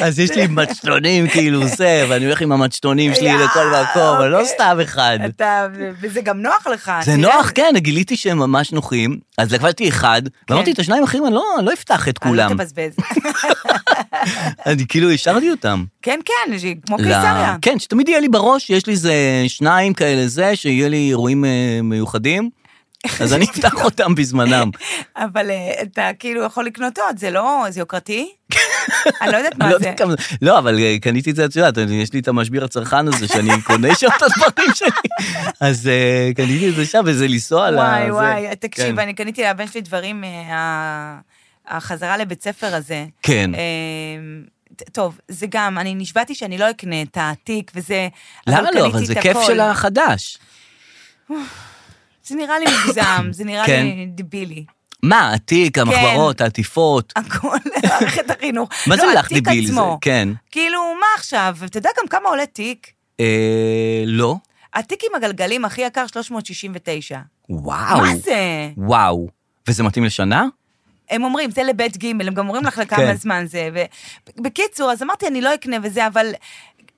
אז יש לי מצ'טונים, כאילו, זה, ואני הולך עם המצ'טונים שלי
יאה,
לכל מקום, אבל לא
אוקיי.
סתם אחד.
אתה, וזה גם נוח לך.
זה
תראה,
נוח, כן, גיליתי שהם ממש נוחים, אז לקבלתי אחד, ואמרתי, את השניים האחרים אני לא- אני לא אפתח את
כן. אה, לא
כולם.
תבזבז.
אני כאילו השארתי אותם.
כן, כן, זה כמו
ל-
קיסריה.
כן, שתמיד יהיה לי בראש, יש לי איזה שניים כאלה זה, שיהיה לי אירועים אה, מיוחדים, אז אני אפתח אותם בזמנם.
אבל אה, אתה כאילו יכול לקנות עוד, זה לא, זה יוקרתי? אני לא יודעת
אני
מה
לא
זה.
יודע כמה... לא, אבל אה, קניתי את זה, את יודעת, אני- יש לי את המשביר הצרכן הזה, שאני קונה שם את הדברים שלי. אז אה, קניתי את זה שם, וזה לנסוע ל...
וואי
זה.
וואי, אה, תקשיב,
כן.
אני קניתי לבן שלי דברים, אה, ה- החזרה לבית ספר הזה.
כן.
אמ, ט- טוב, זה גם, אני נשבעתי שאני לא אקנה את העתיק וזה,
למה לא?
קניתי
אבל זה
את
כיף
הכל.
של החדש.
זה נראה לי מוגזם, זה נראה
כן.
לי דבילי.
מה,
כן.
התיק, המחברות, העטיפות.
הכל, מערכת החינוך.
מה זה
לא,
לך
התיק
דביל זה?
עצמו.
כן.
כאילו, מה עכשיו? אתה יודע גם כמה עולה תיק?
אה, לא.
התיק עם הגלגלים הכי יקר, 369.
וואו.
מה זה?
וואו. וזה מתאים לשנה?
הם אומרים, זה לבית ג', הם גם אומרים לך לכמה
כן.
זמן זה. ו- בקיצור, אז אמרתי, אני לא אקנה וזה, אבל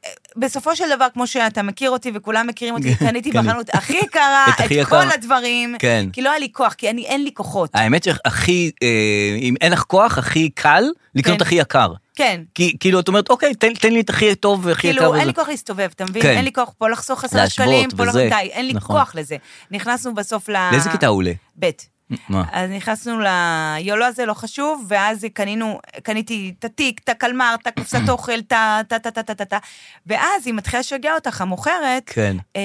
אה, בסופו של דבר, כמו שאתה מכיר אותי וכולם מכירים אותי, קניתי
כן.
בחנות הכי יקרה
את הכי
את
יקר.
כל הדברים,
כן.
כי לא היה לי כוח, כי אני, אין לי כוחות.
האמת שהכי, אה, אם אין לך כוח, הכי קל לקנות
כן.
הכי יקר.
כן.
כי כאילו, את אומרת, אוקיי, תן תן לי את הכי טוב והכי יקר.
כאילו,
וזה."
אין לי כוח להסתובב, אתה מבין?
כן.
אין לי כוח פה לחסוך עשרה
להשוות
שקלים, פה
וזה.
לחסוך, די, אין לי
נכון.
כוח לזה. נכנסנו בסוף ל...
לאיזה כיתה הוא עולה?
ב'.
מה?
אז נכנסנו ליולו הזה, לא חשוב, ואז קנינו, קניתי את התיק, את הקלמר, את הקופסת אוכל, את ה... טה טה טה טה טה טה, ואז היא מתחילה לשגע אותך, המוכרת,
כן.
אה,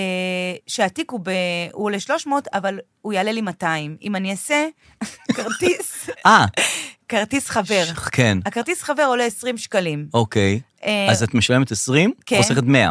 שהתיק הוא, ב... הוא עולה 300, אבל הוא יעלה לי 200. אם אני אעשה כרטיס,
אה,
כרטיס חבר.
ש- כן,
הכרטיס חבר עולה 20 שקלים.
אוקיי.
אה,
אז את משלמת 20,
כן.
חוסכת 100.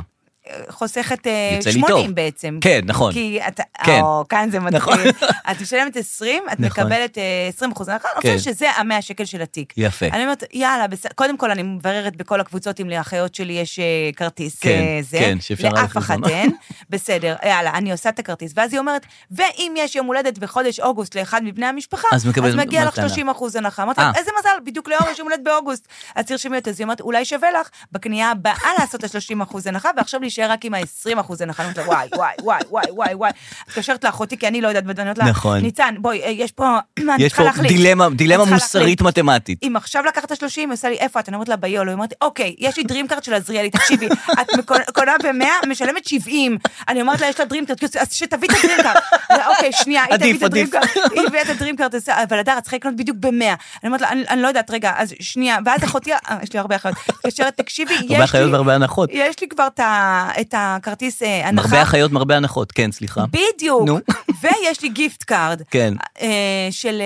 חוסכת אה,
יוצא לי
80
טוב.
בעצם.
כן, נכון.
כי אתה,
כן.
או, כאן זה
נכון.
מתחיל. את משלמת 20, את
נכון.
מקבלת אה, 20 אחוז. נכון, אני
כן.
חושבת שזה המאה שקל של התיק.
יפה.
אני אומרת, יאללה, בסדר. קודם כל, אני מבררת בכל הקבוצות אם לאחיות שלי יש אה, כרטיס
כן,
אה, זה.
כן, שאפשר היה
לאף אחת
לחזור.
אין. בסדר, יאללה, אני עושה את הכרטיס. ואז היא אומרת, ואם יש יום הולדת בחודש אוגוסט לאחד מבני המשפחה,
אז מקבלת
אז מגיע לך
מתנה."
30 אחוז הנחה. אמרתי
אה.
לה, איזה מזל, בדיוק לאור יש יום הולדת באוגוסט. אז תרשמי אותה. אז היא אומרת, אולי שווה לך בקנייה הבאה לעשות את ה-30 אחוז הנחה, ועכשיו להישאר רק עם ה-20 אחוז הנחה, אני אומרת לה, וואי, וואי, וואי, וואי, וואי, וואי. מתקשרת לאחותי, כי אני לא יודעת, ואני אומרת לה,
נכון.
ניצן, בואי, אה, יש פה, אני
יש
צריכה
פה
להחליט.
דילמה, דילמה
צריכה להחליט.
מוסרית מתמטית.
אם עכשיו לקחת 30, היא עושה לי, איפה את? אני אומרת לה, ביולו. היא אומרת לי, אוקיי, יש לי דרימקארט של עזריאלי, תקשיבי, את מקונ- קונה ב-100, משלמת 70. אני אומרת לה, יש לה דרימקארט, אז שתביא את הדרימקארט. לא, אוקיי, שנייה, היא תביא
עדיף,
את
עדיף.
הדרימקארט, היא הביאה את הדרימקארט, אז- אבל הדר, את צריכה לקנות בדיוק ב-100. אני אומרת לה, "אני- אני לא יודעת, רגע, אז שנייה. ואז אחותי, אה, יש לי הרבה אחיות, מתקשרת, תקשיבי,
הרבה
יש
אחיות
לי...
והרבה הנחות.
יש לי כבר את ה- את הכרטיס אה, הנחה.
הרבה אחיות, הרבה הנחות, כן, סליחה.
בדיוק.
נו.
ויש לי גיפט קארד.
כן.
אה, של...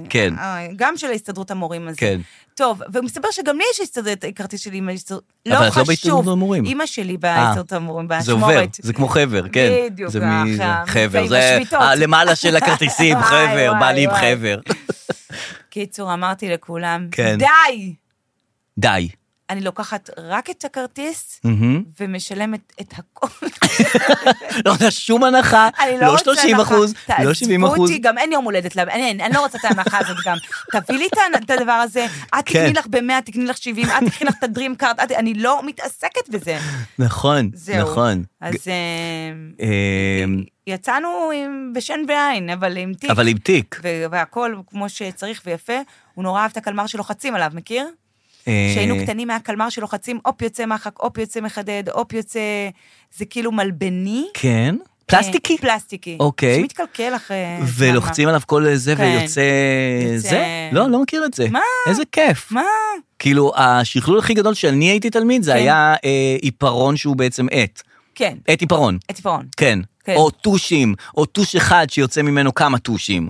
אה,
כן.
אה, גם של הסתדרות המורים הזה.
כן.
טוב, ומסתבר שגם לי יש הסתדרות- כרטיס שלי עם ההסתדרות. לא
אבל את לא
חשוב.
בהסתדרות המורים.
אימא שלי בהסתדרות
אה,
המורים,
זה עובר,
באשמורת.
זה כמו חבר, כן.
בדיוק,
זה
ככה,
מ- זה-
ועם
חבר, זה
השביתות.
למעלה של הכרטיסים,
וואי,
חבר,
וואי,
בא לי עם
וואי.
חבר.
קיצור, אמרתי לכולם,
כן.
די!
די.
אני לוקחת רק את הכרטיס
מהמם.
ומשלמת את הכל.
לא רוצה שום הנחה,
אני לא
לא
רוצה
30
הנחה.
אחוז, לא 70
תעזבו
אחוז.
אותי, גם אין יום הולדת, לה- אין, אין, אני לא רוצה את ההנחה הזאת גם. תביא לי את ה- את הדבר הזה, את
כן.
תקני לך ב-100, תקני לך 70, את תקני לך את הדרים קארט, את- אני לא מתעסקת בזה.
נכון,
זהו.
נכון.
אז אמ,
אמ,
יצאנו עם בשן ועין, אבל עם תיק.
אבל עם תיק.
ו- והכל כמו שצריך ויפה. הוא נורא אהב את הקלמר שלוחצים עליו, מכיר?
אה,
כשהיינו קטנים היה קלמר שלוחצים, אופ יוצא מחק, אופ יוצא מחדד, אופ יוצא... זה כאילו מלבני. אה,
כן. פלסטיקי?
פלסטיקי.
אוקיי.
שמתקלקל אחרי...
ולוחצים עליו כל זה
כן.
ויוצא
יוצא-
זה? לא, לא מכיר את זה.
מה?
איזה כיף.
מה?
כאילו, השכלול הכי גדול שאני הייתי תלמיד זה היה אה, עיפרון שהוא בעצם עט.
כן,
עט עיפרון,
את עיפרון.
כן.
כן.
או טושים, או טוש אחד שיוצא ממנו כמה טושים.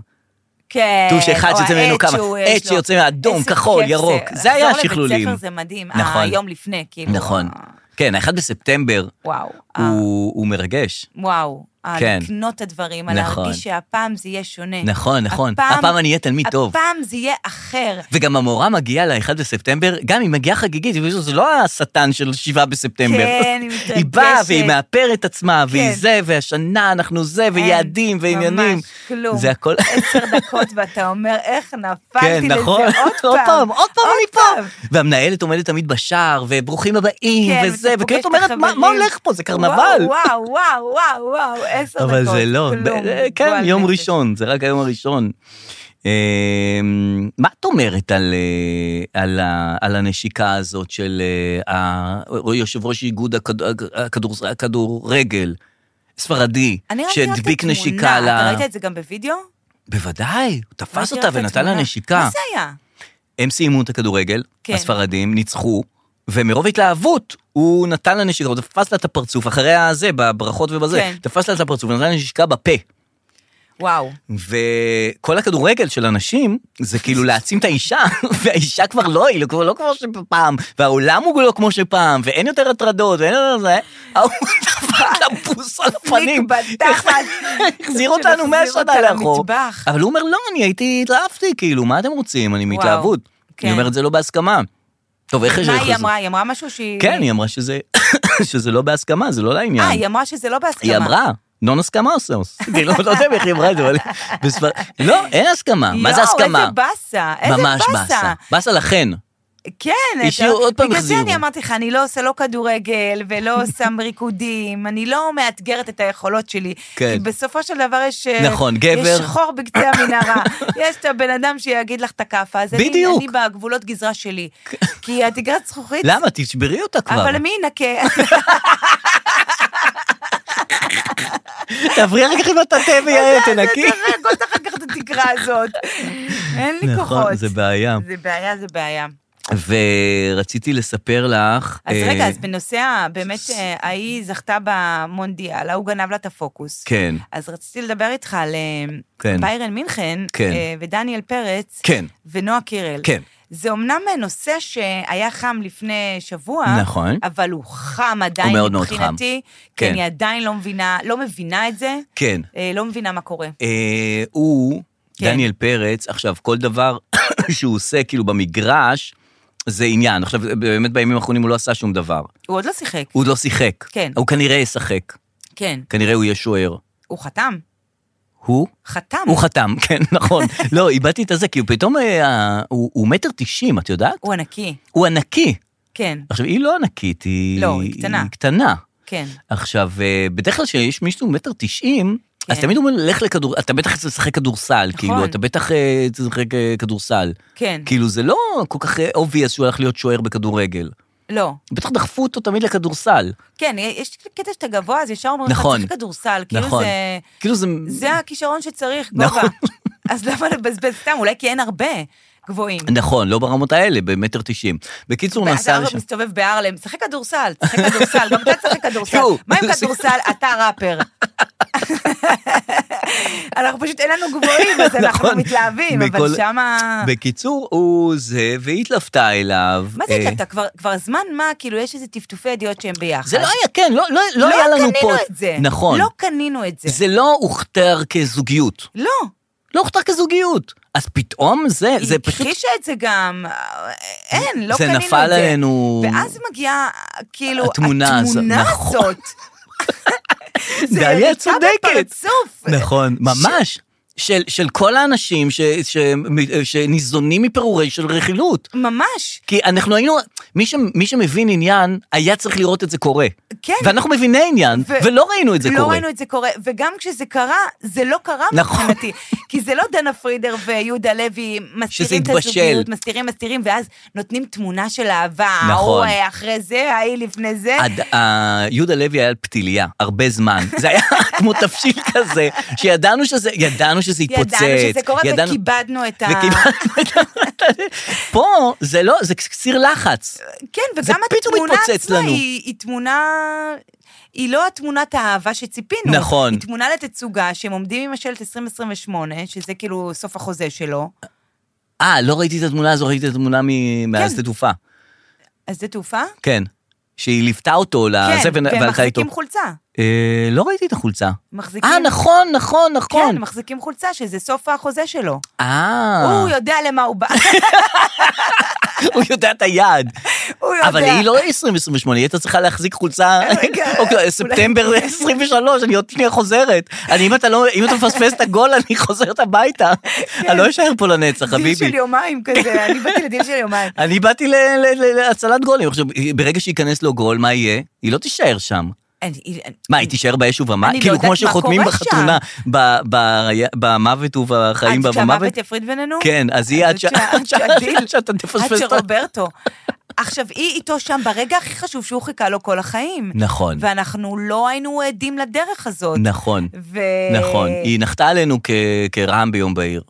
כן.
טוש אחד
או
שיוצא ממנו
העט
כמה-
שהוא- אה,
עט
יש לו.
שיוצא מאדום,
איזה
כחול,
כיף
ירוק. זה היה
לחזור לבית
השכלולים.
ספר זה מדהים.
נכון.
היום לפני, כאילו.
נכון.
אה,
כן, האחד בספטמבר
וואו. אה,
הוא הוא מרגש.
וואו. אה,
כן.
לקנות את הדברים,
נכון.
להרגיש שהפעם זה יהיה שונה.
נכון, נכון.
הפעם-
הפעם אני אהיה תלמיד טוב.
הפעם זה יהיה אחר.
וגם המורה מגיעה ל-1 בספטמבר, גם היא מגיעה חגיגית, היא פשוט- זה לא השטן של 7 בספטמבר.
כן, היא
היא באה
מתרגשת.
והיא מאפרת עצמה, והיא
כן.
זה, והשנה אנחנו זה, ויעדים,
אין,
ועניינים.
ממש כלום.
זה הכל...
עשר דקות ואתה אומר, איך נפלתי
כן,
לזה
נכון.
עוד
עוד
פעם.
פעם, עוד פעם אני
פעם.
פה. והמנהלת עומדת תמיד בשער, וברוכים הבאים,
כן,
וזה,
ואתה
וכאילו את
פוגש
אומרת,
את
"מה- מה
החברים."
הולך פה? זה קרנבל.
וואו, וואו, וואו, וואו, עשר דקות.
אבל זה לא,
כלום,
ב- אה, כן,
גועל
יום
נפש.
ראשון, זה רק היום הראשון. אה, מה את אומרת על, אה, על, ה- על הנשיקה הזאת של אה, ה- או- יושב ראש איגוד הכד- הכדור- הכדורגל, ספרדי,
אני ראיתי רק את
שהדביק
התמונה,
נשיקה ל...
אתה ראית את זה גם בווידאו?
בוודאי, הוא תפס
ראיתי
אותה
רק את
ונתן
התמונה.
לה נשיקה.
מה זה היה?
הם סיימו את הכדורגל,
כן.
הספרדים ניצחו, ומרוב התלהבות הוא נתן לה נשיקה, הוא תפס לה את הפרצוף, אחרי הזה, בברכות ובזה,
כן.
תפס לה את הפרצוף ונתן לה נשיקה בפה.
וואו.
וכל הכדורגל של הנשים זה כאילו להעצים את האישה, והאישה כבר לא, היא לא, כבר לא כמו שפעם, והעולם הוא לא כמו שפעם, ואין יותר הטרדות, ואין יותר זה, ההוא דפק לה פוס על הפנים,
בדחת.
החזיר אותנו מאה
שמחזיר
שנה
אותה
לאחור.
למטבח.
אבל הוא אומר, לא, אני הייתי, התלהבתי, כאילו, מה אתם רוצים? אני מהתלהבות.
כן.
אני אומר את זה לא בהסכמה. טוב, איך יש
מה
לך
היא
זה?
אמרה? היא אמרה משהו שהיא...
כן, היא אמרה שזה שזה לא בהסכמה, זה לא לעניין.
אה, היא אמרה שזה לא בהסכמה.
היא אמרה, נון הסכמה עושה, אני לא לא יודע איך היא אמרה את זה, אבל... בספר- לא, אין הסכמה, מה זה
יואו,
הסכמה?
איזה באסה, איזה
ממש באסה.
באסה.
באסה לכן.
כן,
השאירו, עוד פעם
בגלל זה
החזירו.
אני אמרתי לך, אני לא עושה לא כדורגל ולא שם ריקודים, אני לא מאתגרת את היכולות שלי.
כן.
כי בסופו של דבר יש... אה,
נכון, גבר.
יש חור בקצה המנהרה. יש את הבן אדם שיגיד לך את הכאפה, אז אני-
בדיוק. כן.
אני בגבולות גזרה שלי. כי התגרת זכוכית...
למה? תשברי אותה כבר.
אבל מי ינקה?
תעברי אחר כך עם הטאטא ויעל, תנקי.
תראה, כל אחר כך את התקרה הזאת. אין לי כוחות.
נכון, זה בעיה.
זה בעיה, זה בעיה.
ורציתי לספר לך...
אז
אה,
רגע, אז בנושא, ה- באמת, אה, ההיא זכתה במונדיאל, ההוא גנב לה את הפוקוס.
כן,
אז רציתי לדבר איתך על אה,
כן.
ביירן מינכן,
כן.
אה, ודניאל פרץ,
כן.
ונועה קירל.
כן.
זה אומנם נושא שהיה חם לפני שבוע,
נכון.
אבל הוא חם עדיין
הוא מאוד מאוד חם.
מבחינתי, כי
כן.
אני עדיין לא מבינה, לא מבינה את זה,
כן.
אה, לא מבינה מה קורה.
אה, הוא,
כן.
דניאל פרץ, עכשיו, כל דבר שהוא עושה, כאילו, במגרש, זה עניין. עכשיו, באמת בימים האחרונים הוא לא עשה שום דבר.
הוא עוד לא שיחק,
הוא עוד לא שיחק.
כן.
הוא כנראה ישחק.
כן.
כנראה הוא יהיה שוער.
הוא חתם,
הוא?
חתם.
הוא חתם, כן, נכון. לא, איבדתי את הזה, כי הוא פתאום, אה, ה- הוא הוא מטר תשעים, את יודעת?
הוא ענקי,
הוא ענקי.
כן,
עכשיו, היא לא ענקית, היא...
לא, היא קטנה.
היא קטנה.
כן.
עכשיו, אה, בדרך כלל כשיש מישהו מטר תשעים, אז
כן. נכון.
תמיד אומרים, לך לכדור, אתה בטח צריך לשחק כדורסל, כאילו, אתה בטח אה, צריך לשחק אה, כדורסל.
כן.
כאילו, זה לא כל כך obvious שהוא הלך להיות שוער בכדורגל.
לא.
בטח דחפו אותו תמיד לכדורסל.
כן, יש קטע שאתה גבוה, אז ישר אומרים לך,
נכון.
צריך כדורסל. כאילו
נכון.
זה...
כאילו זה...
זה הכישרון שצריך, גובה.
נכון.
אז למה לבזבז סתם? אולי כי אין הרבה גבוהים.
נכון, לא ברמות האלה, במטר תשעים. בקיצור,
ואז
נסע
אתה
לשם.
מסתובב בהרלם, שחק כדורסל, שחק כדורסל, גם אתה שחק כדורסל.
יואו.
מה עם כדורסל? אתה ראפר. אנחנו פשוט, אין לנו גבוהים, אז אנחנו
נכון.
מתלהבים, אבל
מכל-
שמה...
בקיצור, הוא זה, והיא התלוותה אליו.
אה. מה זה
אה,
התלבטה? כבר- כבר זמן מה, כאילו, יש איזה טפטופי ידיעות שהם ביחד.
זה לא היה, כן, לא, לא, לא היה לנו פה...
קנינו את זה.
נכון.
לא קנינו את זה.
זה לא הוכתר כזוגיות.
לא.
לא הוכתר כזוגיות. אז פתאום זה,
היא
זה פשוט...
הכחישה את זה גם. אין, לא
זה
קנינו את זה.
נפל עלינו...
ואז מגיעה, כאילו,
התמונה
התמונה
הזו- נכון.
הזאת. זה
דליה
יריקה
צודקת.
בפרצוף.
נכון, ממש. של, של כל האנשים ש, ש, שניזונים מפירורי של רכילות.
ממש,
כי אנחנו היינו, מי, ש, מי שמבין עניין, היה צריך לראות את זה קורה.
כן.
ואנחנו מביני עניין, ו... ולא ראינו את זה
לא
קורה.
ראינו את זה קורה, וגם כשזה קרה, זה לא קרה
נכון.
מבחינתי. כי זה לא דנה פרידר ויהודה לוי
שזה
מסתירים את
התבשל.
הזוגיות, מסתירים, מסתירים, ואז נותנים תמונה של אהבה, ההוא
נכון.
אה, אחרי זה, ההיא לפני זה.
עד, אה, יהודה לוי היה על פתיליה, הרבה זמן. זה היה כמו תבשיל כזה, שידענו שזה, ידענו שזה יתפוצץ.
ידענו שזה קורה,
ידענו-
וכיבדנו את ה...
וקיבלנו את ה... פה זה לא, זה קציר לחץ.
כן,
זה
וגם
פתאום
התמונה
התפוצץ
עצמה
לנו.
היא, היא תמונה... היא לא התמונת האהבה שציפינו.
נכון.
היא תמונה לתצוגה שהם עומדים עם השלט 2028, שזה כאילו סוף החוזה שלו.
אה, לא ראיתי את התמונה הזו, ראיתי את התמונה
כן.
מ- מהשדה תעופה.
אז זה תעופה?
כן. שהיא ליוותה אותו לזה
כן, והם
והלכה איתו.
מחזיקים חולצה.
אה, לא ראיתי את החולצה.
מחזיקים...
אה, נכון, נכון, נכון.
כן, מחזיקים חולצה, שזה סוף החוזה שלו.
אה,
הוא יודע למה הוא בא.
הוא יודע את היעד.
הוא יודע. אה,
אבל היא לא 2028, היא הייתה צריכה להחזיק חולצה,
רגע.
אוקיי, ספטמבר 23, אני עוד שנייה חוזרת. אני, אם אתה לא, אם אתה מפספס את הגול, אני חוזרת הביתה. אני לא אשאר פה לנצח,
דיל כן. של
חביבי.
יומיים כזה, אני באתי לדיל של יומיים.
אני באתי ל- ל- ל- להצלת גולים. עכשיו, ברגע שייכנס לו גול, מה יהיה? היא לא תישאר שם.
אני-
מה, היא תישאר באש ובמה?
אני לא
כאילו,
יודעת
כמו
מה
שחותמים
קורה
בחתונה, ב- ב- במוות ובחיים
עד
ובמוות.
שהמוות יפריד בינינו?
כן, אז היא עד ש- עד ש-
שהדיל-
עד שאתה
עד
תפספס את ה...
שרוברטו. עכשיו, היא איתו שם ברגע הכי חשוב שהוא חיכה לו כל החיים.
נכון,
ואנחנו לא היינו עדים לדרך הזאת.
נכון,
ו...
נכון.
אה,
היא נחתה עלינו כ- כרעם ביום בהיר.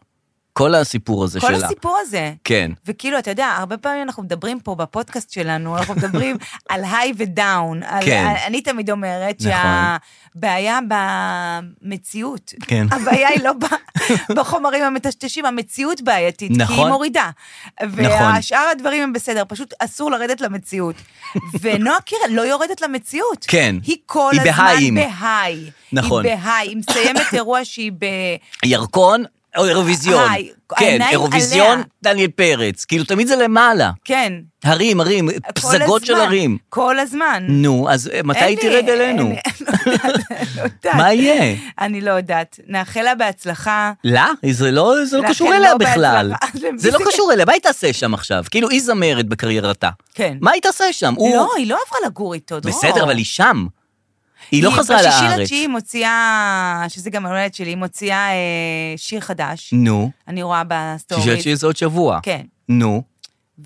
כל הסיפור הזה
כל
שלה.
הסיפור הזה.
כן.
וכאילו, אתה יודע, הרבה פעמים אנחנו מדברים פה בפודקאסט שלנו, אנחנו מדברים על היי ודאון. על-
כן.
על- אני תמיד אומרת
נכון.
שהבעיה במציאות.
כן.
הבעיה היא לא ב- בחומרים המטשטשים, המציאות בעייתית, כי היא
נכון.
מורידה.
נכון.
והשאר הדברים הם בסדר, פשוט אסור לרדת למציאות. ונועה קירל לא יורדת למציאות.
כן.
היא כל
היא בהיים.
הזמן בהיי.
נכון.
היא בהיי, היא מסיימת אירוע שהיא ב...
ירקון, או אירוויזיון.
היי,
כן,
העיניים
אירוויזיון,
עליה.
דניאל פרץ. כאילו, תמיד זה למעלה.
כן.
הרים, הרים,
כל
פסגות של
הזמן,
הרים.
כל הזמן.
נו, אז אה, מתי
אין
היא
לי-
תרד אלינו?
אין לי- לא יודעת.
מה יהיה?
אני לא יודעת. נאחל לה בהצלחה.
לה? זה לא, זה לא
לכן
קשור
לא
אליה בכלל.
בהצלחה.
זה לא קשור אליה, מה היא תעשה שם עכשיו? כאילו, היא זמרת בקריירתה.
כן.
מה היא תעשה שם? הוא-
לא, היא לא עברה לגור איתו, דרור.
בסדר, אבל היא שם. היא לא חזרה
בשישי
לארץ.
לתשיעי היא מוציאה, שזה גם הנולדת שלי, היא מוציאה אה, שיר חדש.
נו,
אני רואה
שישי
בסטורי.
לתשיעי זה עוד שבוע.
כן.
נו,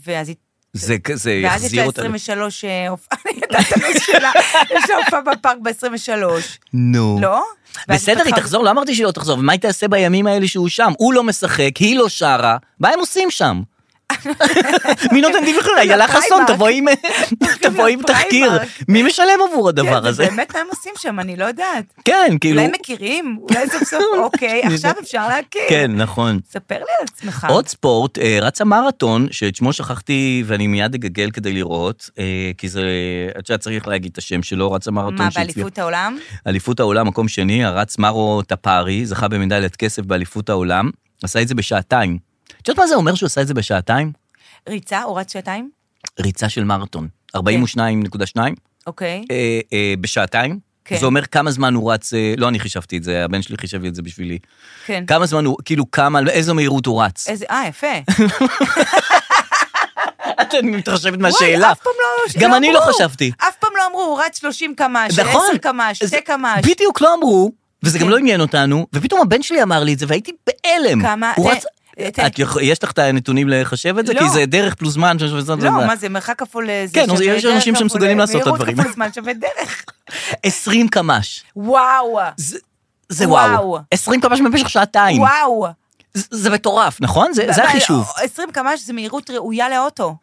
ואז היא...
זה כזה
ואז יש
יחזיר
לה
אותה.
23 אה, הופעה, אני יודעת את הנושא שלה, יש לה הופעה בפארק ב-23,
נו.
לא? ואז
בסדר, היא
פתחה-
תחזור, לא אמרתי שהיא לא תחזור, ומה היא תעשה בימים האלה שהוא שם? הוא לא משחק, היא לא שרה, מה הם עושים שם? מי נותן דיווחים? איילה חסון,
לפריימרק.
תבואי עם- תבואי עם תחקיר.
לפריימרק.
מי משלם עבור הדבר
כן, זה
הזה?
באמת מה הם עושים שם, אני לא יודעת.
כן, כאילו...
אולי מכירים, אולי סוף סוף, אוקיי, עכשיו אפשר להכיר.
כן, נכון.
ספר לי על עצמך.
עוד ספורט, אה, רצה מרתון, שאת שמו שכחתי ואני מיד אגגל כדי לראות, אה, כי זה, את יודעת, צריך להגיד את השם שלו, רצה מרתון
מה,
שהצליח-
באליפות העולם?
אליפות העולם, מקום שני, הרץ מרו טפרי, זכה במדליית כסף באליפות העולם, עשה את זה בשעתיים. את יודעת מה זה אומר שהוא עשה את זה בשעתיים?
ריצה, הוא רץ שעתיים?
ריצה של מרתון, 42.2
אוקיי.
אה, אה, בשעתיים.
כן.
זה אומר כמה זמן הוא רץ, אה, לא אני חישבתי את זה, הבן שלי חישב לי את זה בשבילי.
כן.
כמה זמן הוא, כאילו כמה, על איזו מהירות הוא רץ.
איזה, אה, יפה.
את מתרשמת
וואי,
מהשאלה.
אף פעם לא...
גם
לא
אני לא
אמרו.
חשבתי.
אף פעם לא אמרו, הוא רץ 30 קמ"ש,
נכון.
10 קמ"ש,
זה-
2 קמ"ש.
בדיוק לא אמרו, וזה גם
כן.
לא עניין אותנו, ופתאום הבן שלי אמר לי את זה, והייתי בהלם.
כמה-
הוא
אה,
רץ...
אה, תן-
את יכ- יש לך את הנתונים לחשב את זה?
לא.
כי זה דרך פלוס זמן.
לא, מה זה, מרחק כפול אה, זה
כן,
שווה
יש
דרך
אנשים
כפול,
שמסוגלים
אה,
לעשות את הדברים.
מהירות כפול זמן שווה דרך.
20 קמ"ש.
וואו,
זה- זה
וואו.
וואו. 20 קמ"ש במשך שעתיים.
וואו. לא.
זה זה מטורף, נכון? זה זה
אבל
החישוב.
20 קמ"ש זה מהירות ראויה לאוטו.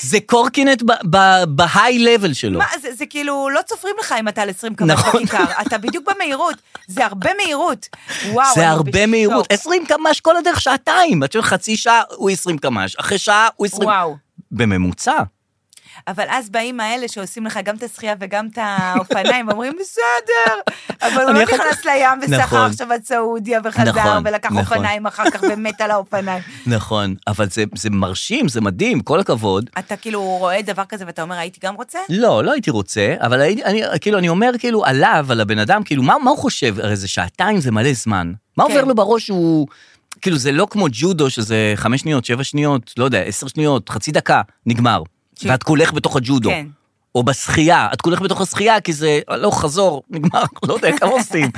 זה קורקינט ב- ב- בהיי-לבל שלו.
מה, זה, זה כאילו, לא צופרים לך אם אתה על 20 קמ"ש
נכון.
בכיכר, אתה בדיוק במהירות, זה הרבה מהירות. וואו,
זה
אני
הרבה
בשוק.
מהירות. 20 קמ"ש כל הדרך שעתיים. את שואלת חצי שעה הוא 20 קמ"ש, אחרי שעה הוא 20...
וואו.
בממוצע.
אבל אז באים האלה שעושים לך גם את השחייה וגם את האופניים, ואומרים, בסדר, אבל הוא
אני
לא
אחר כך-
נכנס לים וסחר
נכון.
עכשיו עד סעודיה וחזר,
נכון,
ולקח
נכון.
אופניים אחר כך ומת על האופניים.
נכון, אבל זה, זה מרשים, זה מדהים, כל הכבוד.
אתה כאילו רואה דבר כזה ואתה אומר, הייתי גם רוצה?
לא, לא הייתי רוצה, אבל הייתי, אני, כאילו, אני אומר כאילו עליו, על הבן אדם, כאילו, מה, מה הוא חושב? הרי זה שעתיים, זה מלא זמן. מה
כן.
עובר לו בראש שהוא... כאילו, זה לא כמו ג'ודו, שזה חמש שניות, שבע שניות, לא יודע, עשר שניות, חצי דקה, נגמר.
כן.
ואת כולך בתוך הג'ודו.
כן.
או בשחייה, את כולך בתוך השחייה, כי זה הלוך, חזור, נגמר, לא יודע כמה עושים.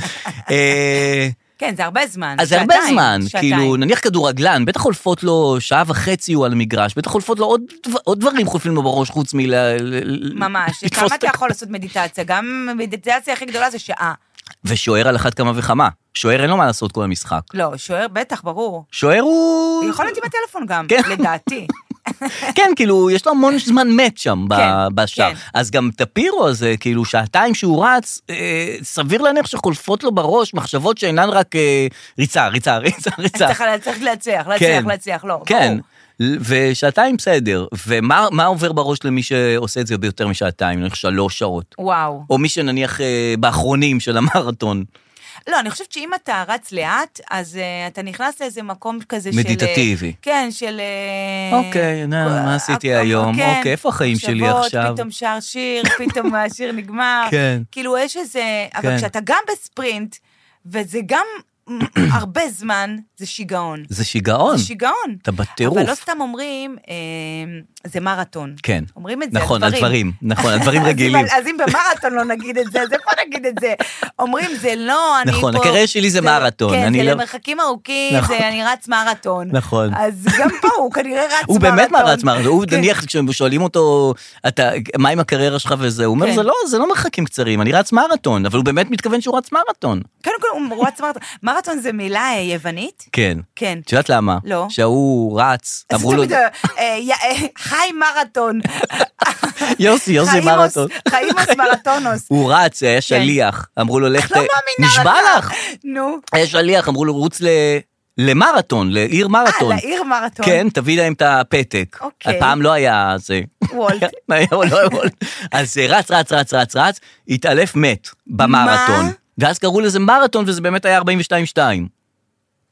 אה,
כן, זה הרבה זמן.
אז זה הרבה
שעתיים,
זמן,
שעתיים.
כאילו, נניח כדורגלן, בטח חולפות לו שעה וחצי הוא על המגרש, בטח חולפות לו עוד, דבר- עוד דברים חולפים לו בראש חוץ מל... ל-
ממש,
לתפוס
כמה
את
אתה
הכ-
יכול לעשות מדיטציה? גם מדיטציה הכי גדולה זה שעה.
ושוער על אחת כמה וכמה. שוער אין לו מה לעשות כל המשחק.
לא, שוער בטח, ברור.
שוער הוא...
הוא יכול להיות עם הטלפון גם,
כן.
לדעתי.
כן, כאילו, יש לו המון זמן מת שם ב-
כן,
בשער.
כן.
אז גם טפירו הזה, כאילו, שעתיים שהוא רץ, אה, סביר להניח שחולפות לו בראש מחשבות שאינן רק אה, ריצה, ריצה, ריצה, ריצה.
צריך צריך להצליח, להצליח, להצליח, לא,
כן.
ברור.
ל- ושעתיים בסדר, ומה מה עובר בראש למי שעושה את זה ביותר משעתיים, נניח שלוש שעות?
וואו.
או מי שנניח אה, באחרונים של המרתון,
לא, אני חושבת שאם אתה רץ לאט, אז uh, אתה נכנס לאיזה מקום כזה של... אה,
מדיטטיבי.
כן, של... אה,
אוקיי, נה,
אה,
מה עשיתי
אה,
היום?
כן,
אוקיי, איפה החיים שלי
מחשבות,
עכשיו?
פתאום שר שיר, פתאום השיר נגמר.
כן.
כאילו, יש איזה... אבל
כן.
כשאתה גם בספרינט, וזה גם הרבה זמן, זה שיגעון.
זה שיגעון.
זה שיגעון.
אתה בטירוף.
אבל לא סתם אומרים, אה, זה מרתון.
כן.
אומרים את זה,
נכון,
הדברים.
הדברים, נכון, הדברים
אז אם-
רגילים.
אז אם במרתון לא נגיד את זה, אז איפה נגיד את זה? אומרים, זה לא, אני פה...
נכון, הקריירה שלי זה מרתון,
כן,
אני
זה
לא-
למרחקים ארוכים,
נכון.
זה אני רץ מרתון.
נכון.
אז גם פה הוא כנראה רץ מרתון.
הוא באמת מרץ מרתון, הוא
כן.
נניח כששואלים אותו, אתה, מה עם הקריירה שלך וזה, הוא אומר,
כן.
זה לא, זה לא מרחקים קצרים, אני רץ מרתון, אבל הוא באמת מתכוון שהוא רץ מרתון.
קודם כל, הוא רץ מרתון. מרתון זה מילה אה, יוונית?
כן.
כן.
את יודעת למה?
לא.
שההוא רץ,
אז
אמרו לו,
תמיד, אה, אה, אה, חי מרתון.
יוסי, יוסי
חיימוס-
מרתון.
חיימוס מרתונוס.
הוא רץ, היה שליח, אמרו לו, לך,
כן. לא
ת-
מאמינה לך.
נשבע לך,
נו.
היה שליח, אמרו לו, רוץ ל- למרתון, לעיר מרתון.
אה, לעיר מרתון.
כן, תביא להם את הפתק.
אוקיי.
הפעם לא היה זה.
וולט.
מה היה, לא היה וולט. אז אה, רץ, רץ, רץ, רץ, רץ, התעלף מת במרתון.
מה?
ואז קראו לזה מרתון, וזה באמת היה 42-2.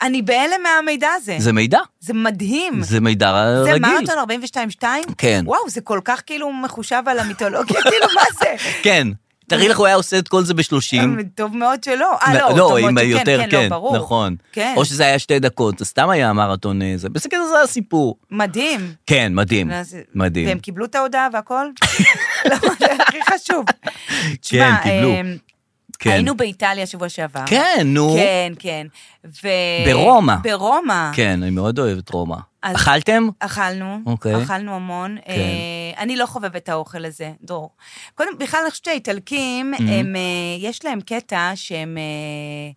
אני בהלם מהמידע הזה.
זה מידע,
זה מדהים.
זה מידע
כן. זה
רגיל.
מרתון 42-2?
כן.
וואו, זה כל כך כאילו מחושב על המיתולוגיה, כאילו מה זה?
כן. תארי לך, הוא היה עושה את כל זה בשלושים.
טוב מאוד שלא. אה, לא, טוב
לא,
מאוד
עם
שכן,
היותר,
כן, לא,
כן,
ברור.
נכון.
כן.
או שזה היה שתי דקות, זה סתם היה מרתון אה, זה. בסדר, זה הסיפור.
מדהים.
כן, מדהים,
אז-
מדהים.
והם קיבלו את ההודעה והכל? לא, זה הכי חשוב. תשמע,
כן, קיבלו.
אמ,
כן.
היינו באיטליה שבוע שעבר.
כן, נו.
כן, כן. ו...
ברומא.
ברומא.
כן, אני מאוד אוהב את רומא.
אז-
אכלתם?
אכלנו,
אוקיי.
אכלנו המון. אה, אני לא חובבת את האוכל הזה, דור. קודם, בכלל, אני חושבת שהאיטלקים, הם, אה, יש להם קטע שהם אה,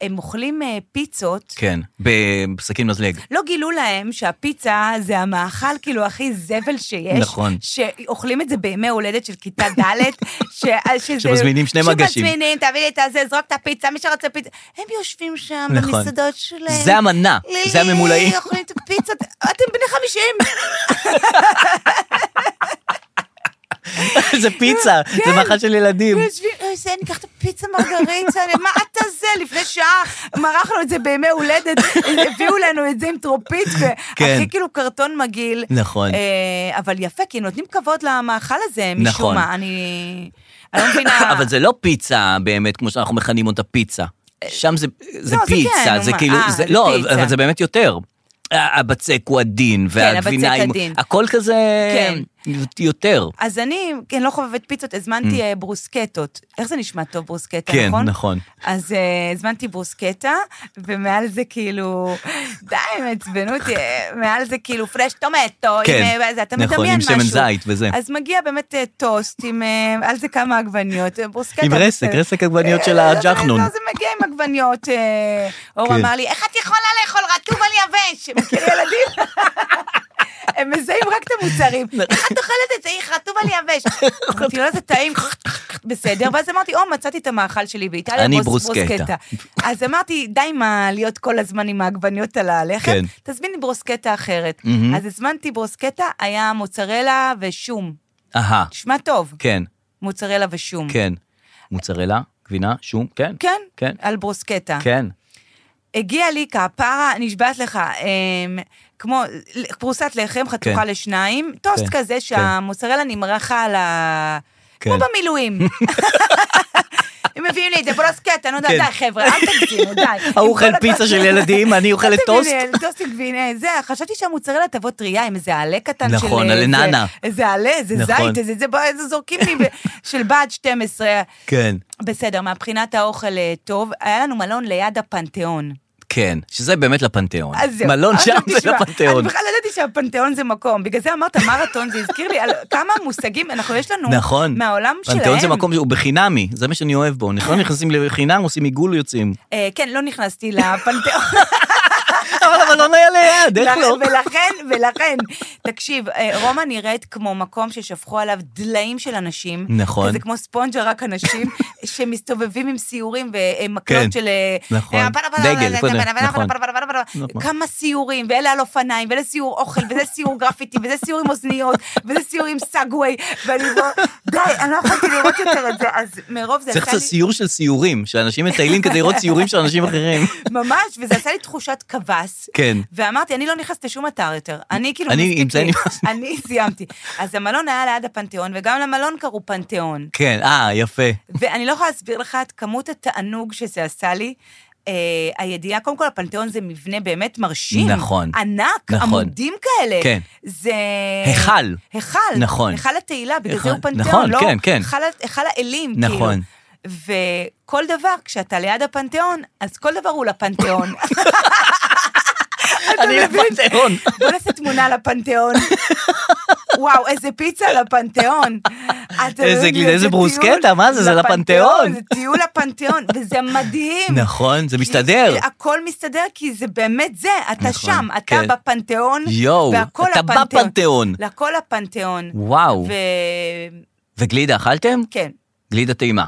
הם אוכלים אה, פיצות.
כן, בסכין מזלג.
לא גילו להם שהפיצה זה המאכל כאילו הכי זבל שיש.
נכון.
שאוכלים את זה בימי הולדת של כיתה ד', ש... אה, שזה...
שמזמינים שני מגשים.
שמזמינים, תביא לי את הזה, זרוק את הפיצה, מי שרוצה פיצה. הם יושבים שם
נכון.
במסעדות שלהם.
זה המנה,
לילי,
זה הממולאים.
אוכלים את הפיצות, אתם בני 50.
זה פיצה,
כן.
זה מאכל של ילדים.
יושבים, "אוי, זה, ניקח את הפיצה מרגריצה, אני, מה אתה זה? לפני שעה מרחנו את זה בימי הולדת, הביאו לנו את זה עם טרופית,
כן.
והכי כאילו קרטון מגעיל.
נכון.
אה, אבל יפה, כי נותנים כבוד למאכל הזה, משום
נכון.
מה. אני אני לא מבינה...
אבל זה לא פיצה באמת, כמו שאנחנו מכנים אותה פיצה. שם זה, זה
לא, זה
פיצה,
כן,
זה
מה,
כאילו,
אה,
זה,
זה
לא,
פיצה. כן,
אבל זה באמת יותר. ה- הבצק הוא עדין, והגבינה
הבצק
עם...
עדין.
הכל כזה...
כן.
יותר.
אז אני, כן, לא חובבת פיצות, הזמנתי אה, ברוסקטות. איך זה נשמע טוב, ברוסקטה,
Mm. כן,
נכון?
נכון.
אז אה, הזמנתי ברוסקטה, ומעל זה כאילו, די, הם עצבנו אותי, אה, מעל זה כאילו פרש טומטו,
כן,
עם, אה, זה, אתה
נכון,
מדמיין
עם
משהו.
שמן זית וזה.
אז מגיע באמת אה, טוסט עם, אה, על זה כמה עגבניות, אה, ברוסקטה.
עם רסק,
בסדר.
רסק עגבניות של
אה,
הג'חנון.
לא, זה מגיע עם עגבניות. אה, אור
כן.
אמר לי, איך את יכולה לאכול רטוב על יבש? מכיר ילדים? הם מזהים רק את המוצרים.
נכון.
איך את אוכלת את זה? איך רטוב על יבש. אמרתי לו, זה טעים. בסדר, ואז אמרתי, או, מצאתי את המאכל שלי באיטליה,
אני
ברוס-
ברוסקטה."
אז אמרתי, די עם ה- להיות כל הזמן עם העגבניות על הלחם,
כן.
תזמיני ברוסקטה אחרת.
מהמם.
אז הזמנתי ברוסקטה, היה מוצרלה ושום.
אהה,
נשמע טוב,
כן,
מוצרלה ושום.
כן. מוצרלה, גבינה, שום, כן.
כן,
כן.
על ברוסקטה.
כן.
הגיע לי כפרה, נשבעת לך, אמ, כמו ל- פרוסת לחם חתוכה
כן.
לשניים, טוסט
כן,
כזה שהמוצרלה נמרחה על ה...
כן.
כמו במילואים. הם מביאים לי את זה, ברוסקטה, נו די,
כן.
די, חבר'ה, אל תגזימו, די.
ההוא אוכל פיצה של ילדים, אני אוכלת טוסט.
טוסט עם גבינה, זה, חשבתי שהמוצרלה תבוא טריה עם איזה עלה קטן של...
נכון,
איזה-
עלה ננה.
איזה עלה, איזה
נכון.
זית, איזה זה, בוא, איזה זורקים לי, ב- של בה"ד 12.
כן.
בסדר, מבחינת האוכל אה, טוב, היה לנו מלון ליד הפנתיאון.
כן, שזה באמת לפנתיאון.
אז זהו.
מלון
אז
שם זה
תשמע,
לפנתיאון.
אני בכלל לא ידעתי שהפנתיאון זה מקום, בגלל זה אמרת מרתון, זה הזכיר לי על כמה מושגים, אנחנו, יש לנו
נכון.
מהעולם שלהם.
פנתיאון זה מקום שהוא בחינמי, זה מה שאני אוהב בו. נכון, נכנסים לחינם, עושים עיגול ויוצאים.
אה, כן, לא נכנסתי לפנתיאון.
אבל המלון היה ליד, איך לא?
ולכן, ולכן, תקשיב, אה, רומא נראית כמו מקום ששפכו עליו דליים של אנשים.
נכון.
כזה כמו ספונג'ה, רק אנשים שמסתובבים עם סיורים ומקלות
כן,
של... אה,
נכון.
אה, פרה, פרה,
דגל,
פרה,
פרה,
פרה, פרה,
נכון.
פרה, פרה, פרה, פרה.
נכון.
כמה סיורים, ואלה על אופניים, ואלה סיור אוכל, וזה סיור גרפיטי, וזה סיור עם אוזניות, וזה סיור עם סאגווי, ואני בוא... די, אני לא יכולתי לראות יותר את זה, אז מרוב זה
צריך
עשה
לעשות
לי...
סיור של סיורים, שאנשים מטיילים כדי לראות סיורים של אנשים אחרים.
ממש, וזה עשה לי תחושת קבס.
כן.
ואמרתי, אני לא נכנסת לשום אתר יותר. אני כאילו
אני- לא- עם זה
לי.
נמאס לי.
אני סיימתי. אז המלון היה ליד הפנתיאון, וגם למלון קראו פנתיאון.
כן, אה, יפה.
ואני לא יכולה להסביר לך את כמות התענוג שזה עשה לי. אה, הידיעה, קודם כל, הפנתיאון זה מבנה באמת מרשים.
נכון.
ענק,
נכון.
עמודים כאלה.
כן.
זה...
היכל.
היכל.
נכון.
היכל התהילה, בגלל זה
נכון,
הוא פנתיאון,
נכון,
לא?
כן, כן.
היכל, היכל האלים, כאילו.
נכון.
וכל דבר, כשאתה ליד הפנתיאון, אז כל דבר הוא לפנתיאון.
אני
מבין?
לפנתיאון.
בוא נעשה תמונה לפנתיאון. וואו, איזה פיצה לפנתיאון. אתה
איזה
מבין?
גלידה,
זה
איזה
טיול
ברוסקטה, מה זה? זה לפנתיאון.
זה טיול לפנתיאון, וזה מדהים.
נכון, זה
כי-
מסתדר.
כי הכל מסתדר, כי זה באמת זה, אתה
נכון,
שם, אתה
כן.
בפנתיאון,
יואו,
והכל
אתה
הפנתיאון.
בפנתיאון.
לכל הפנתיאון.
וואו.
וכן.
וגלידה אכלתם?
כן.
גלידה טעימה.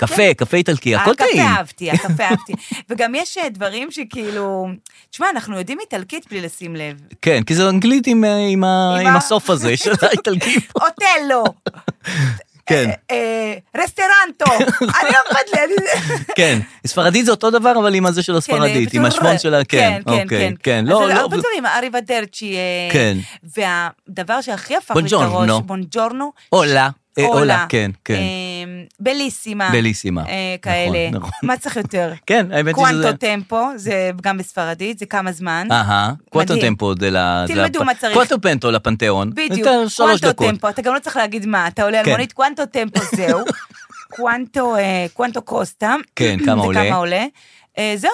קפה, קפה איטלקי, הכל טעים.
הקפה כן. אה, אהבתי, הקפה אהבתי. וגם יש אה, דברים שכאילו... תשמע, אנחנו יודעים איטלקית בלי לשים לב.
כן, כי זה אנגלית עם, אה, עם, ה-
עם
עם
ה-
הסוף הזה של האיטלקים.
אוטלו,
כן,
אה, רסטרנטו, אני לא אכפת לי, אני-
כן. ספרדית זה אותו דבר, אבל עם הזה של הספרדית,
כן,
עם
אה,
השמון שלה, כן,
כן, כן,
אוקיי,
כן.
כן. לא,
אז
לא,
הרבה דברים, אריבדרצ'י. אה,
כן.
והדבר שהכי הפך לי את
בונג'ורנו.
הראש, בונג'ורנו.
עולה, אה, עולה, כן, כן.
אה, בליסימה.
בליסימה.
אה,
נכון,
כאלה.
נכון.
מה צריך יותר?
כן, האמת היא שזה...
קוונטו טמפו, זה גם בספרדית, זה כמה זמן.
אהה, קוואטו
מדהים.
טמפו דלה...
תלמדו מה צריך.
קוואטו פנטו לפנתיאון.
בדיוק,
יותר שלוש
קוונטו
דקות.
טמפו, אתה גם לא צריך להגיד מה, אתה עולה על
כן.
מונית, קוונטו טמפו זהו, קוונטו, אה, קוונטו קוסטה,
כן, כמה עולה?
זה כמה עולה, אה, זהו,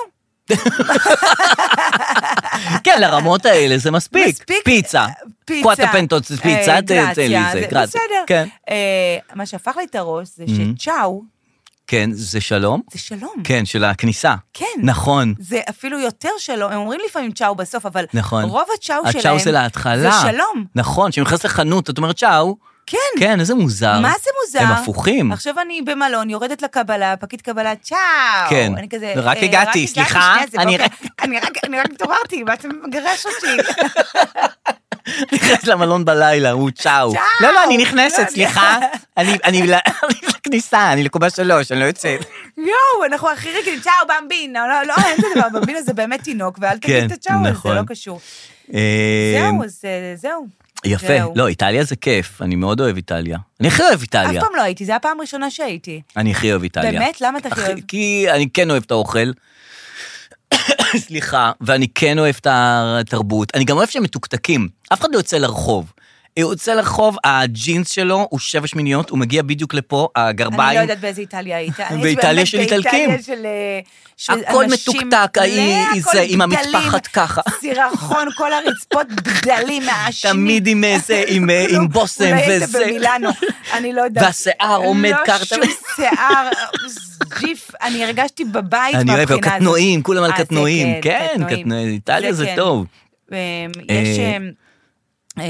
כן, לרמות האלה זה מספיק.
מספיק. אה,
פיצה.
פיצה,
קוואטו פנטו זה פיצה,
אה,
תן תן לי
גרציה,
זה.
זה
גרציה.
בסדר,
כן,
אה, מה שהפך לי את הראש זה שצ'או
כן, זה שלום.
זה שלום,
כן, של הכניסה.
כן.
נכון.
זה אפילו יותר שלום, הם אומרים לפעמים צ'או בסוף, אבל
נכון.
רוב הצ'או שלהם,
הצ'או זה להתחלה.
זה שלום,
נכון, כשנכנס לחנות, את אומרת צ'או.
כן.
כן, איזה מוזר.
מה זה מוזר?
הם הפוכים.
עכשיו אני במלון, יורדת לקבלה, פקיד קבלה, צ'או.
כן.
אני כזה...
רק
אה,
הגעתי, סליחה,
שנייה, זה
אני
בוקר.
רק-
אני רק... אני רק התעוררתי, מה אתה מגרש אותי?
נכנס למלון בלילה, הוא צ'או.
צ'או.
לא, לא, אני
לא,
נכנסת,
אני-
סליחה. אני אני ל- אני לכניסה, אני לקומה שלוש, אני לא יוצאת.
יואו, אנחנו הכי רגילים, צ'או, במבינה. לא, לא, אין זה דבר, במבינה זה באמת תינוק, ואל
כן,
תגיד את הצ'או הזה,
נכון.
זה לא קשור.
אה,
זהו, אז, אה, זהו.
יפה.
זהו.
לא, איטליה זה כיף, אני מאוד אוהב איטליה. אני הכי אוהב
אף
איטליה.
פעם לא הייתי, זו הייתה הפעם הראשונה שהייתי.
אני הכי אוהב איטליה.
באמת? למה אתה הכי אוהב?
כי אני כן אוהב את האוכל. סליחה, ואני כן אוהב את התרבות. אני גם אוהב שהם מתוקתקים. אף אחד לא יוצא לרחוב. הוא יוצא לרחוב, הג'ינס שלו הוא שבע שמיניות, הוא מגיע בדיוק לפה, הגרביים.
אני לא יודעת באיזה איטליה היית. אני הייתי
באיטליה
באמת
של איטלקים.
באיטליה של, אה, של
הכל
אנשים-
מתוקתק, ההיא-
הכל
זה, עם
בדלים,
המטפחת ככה.
סירחון, כל הרצפות בדלים מהעשנים.
תמיד עם איזה, עם, אה, עם
כלום.
בושם
לא, אולי היית
וזה.
במילאנו, אני לא יודעת.
והשיער עומד ככה,
לא
אתה
שום
מבין?
שיער, ג'יף, אני הרגשתי בבית
אני
מהבחינה
אוהב,
הזאת.
קטנועים, כולם על
אה, זה
קטנועים. כן, קטנועים, איטליה זה
כן.
טוב.
אמ, יש...
אה,
אמ, אה,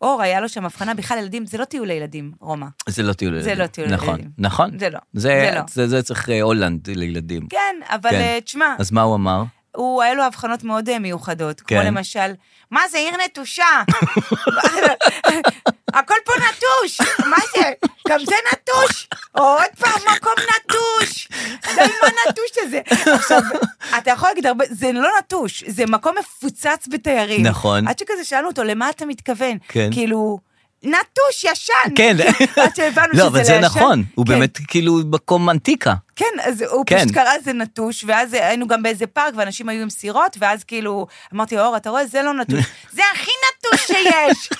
אור, היה לו שם הבחנה, בכלל ילדים, זה לא טיול לילדים, רומא.
זה לא טיול
זה
לילדים.
לא טיול
נכון,
לילדים.
נכון.
זה לא,
זה
זה לא.
זה- זה צריך אה, הולנד לילדים.
כן, אבל
כן.
אה, תשמע,
אז מה הוא אמר?
הוא, היה לו הבחנות מאוד אה, מיוחדות, כמו
כן.
למשל, מה זה עיר נטושה? הכל פה נטוש, מה זה? גם זה נטוש, או עוד פעם מקום נטוש, די עם הנטוש הזה. עכשיו, אתה יכול להגיד הרבה, זה לא נטוש, זה מקום מפוצץ בתיירים.
נכון.
עד שכזה שאלנו אותו, למה אתה מתכוון?
כן.
כאילו, נטוש ישן.
כן.
עד שהבנו
לא,
שזה
אבל זה
לישן.
נכון, הוא
כן.
באמת כאילו מקום אנטיקה.
כן, אז הוא
כן.
כן. פשוט קרא לזה נטוש, ואז היינו גם באיזה פארק, ואנשים היו עם סירות, ואז כאילו, אמרתי, אור, אתה רואה, זה לא נטוש. זה הכי נטוש שיש!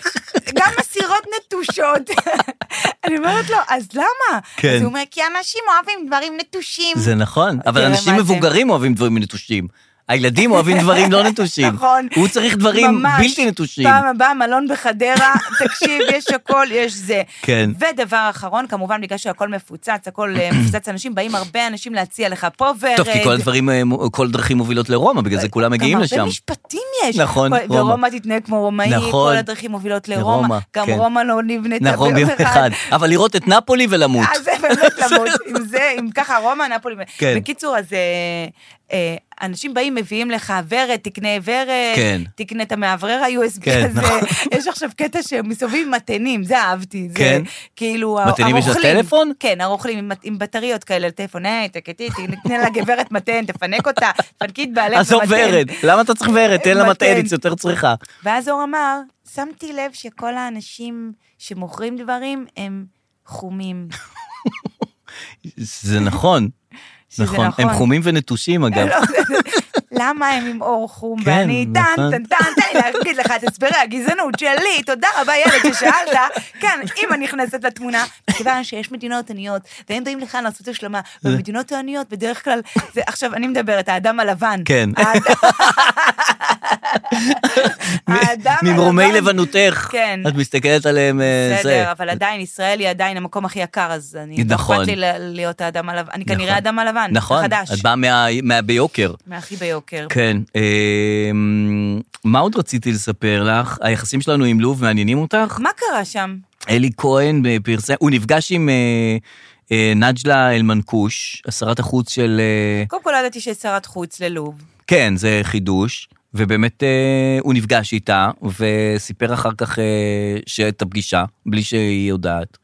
גם הסירות נטושות. אני אומרת לו, אז למה?
כן.
אז הוא אומר, כי אנשים אוהבים דברים נטושים.
זה נכון, אבל
תראה
אנשים
אוקיי, מה זה.
מבוגרים אוהבים דברים נטושים. הילדים אוהבים דברים לא נטושים.
נכון.
הוא צריך דברים
ממש.
בלתי נטושים.
פעם הבאה, מלון בחדרה, תקשיב, יש הכל, יש זה.
כן.
ודבר אחרון, כמובן, בגלל שהכל מפוצץ, הכל אה, מפוצץ אנשים, באים הרבה אנשים להציע לך פה ורד.
טוב, כי כל הדברים, אה, מ- כל דרכים מובילות לרומא, בגלל
אה,
זה כולם מגיעים
גם
לשם.
הרבה משפטים יש.
נכון,
כל-
רומא.
ורומא תתנהג כמו רומאי,
נכון.
כל הדרכים מובילות
לרומא,
לרומא. גם
כן.
רומא לא נבנתה
נכון, ביום אחד. אבל לראות את נפולי ולמות.
אז זה באמת למות, עם זה, עם ככה רומא, נפולי.
כן.
בקיצור, אז אה, אה, אנשים באים, מביאים לך ורד, תקנה ורד,
כן.
תקנה את המאוורר ה-USB
כן,
הזה.
נכון.
יש עכשיו קטע שמסתובבים עם מתנים, זה אהבתי. זה
כן.
כאילו,
מתנים יש
הרוכלים-
לטלפון?
כן, הרוכלים עם- עם בטריות כאלה לטלפון, היי, תקטי, תקנה לגברת מתן, תפנק אותה, תפנקי את בעלך
עזוב
במתן.
ורד, למה אתה צריך ורד? תן לה
מתן.
מטענית, זה יותר צריכה.
ואז אור אמר, שמתי לב שכל האנשים שמוכרים דברים הם חומים.
זה נכון.
שזה נכון.
הם חומים ונטושים, אגב.
לא, למה הם עם אור חום?
כן,
ואני טן,
נכון.
טן, טן, תן לי להגיד לך את הסברי הגזענות שלי, תודה רבה ילד ששאלת. כן, אמא נכנסת לתמונה, מכיוון שיש מדינות עניות, והם באים לכאן לעשות השלמה, ובמדינות העניות בדרך כלל, זה- עכשיו אני מדברת, האדם הלבן.
כן.
האד- האדם הלבן.
ממרומי לבנותך.
כן.
את מסתכלת עליהם, אה, זה.
בסדר, אבל עדיין, ישראל היא עדיין המקום הכי יקר, אז אני... לא
נכון.
אכפת לי ל- להיות האדם הלבן. אני כנראה
נכון.
האדם הלבן,
נכון,
החדש.
את באה מה- מהביוקר.
מהכי ביוקר.
כן. אמ, מה עוד רציתי לספר לך? היחסים שלנו עם לוב מעניינים אותך?
מה קרה שם?
אלי כהן אה, פרסם, הוא נפגש עם אה, אה, נג'לה אלמנקוש, שרת החוץ של... אה,
קודם כל לא ידעתי שיש שרת חוץ ללוב.
כן, זה חידוש. ובאמת אה, הוא נפגש איתה, וסיפר אחר כך אה, שאת הפגישה, בלי שהיא יודעת,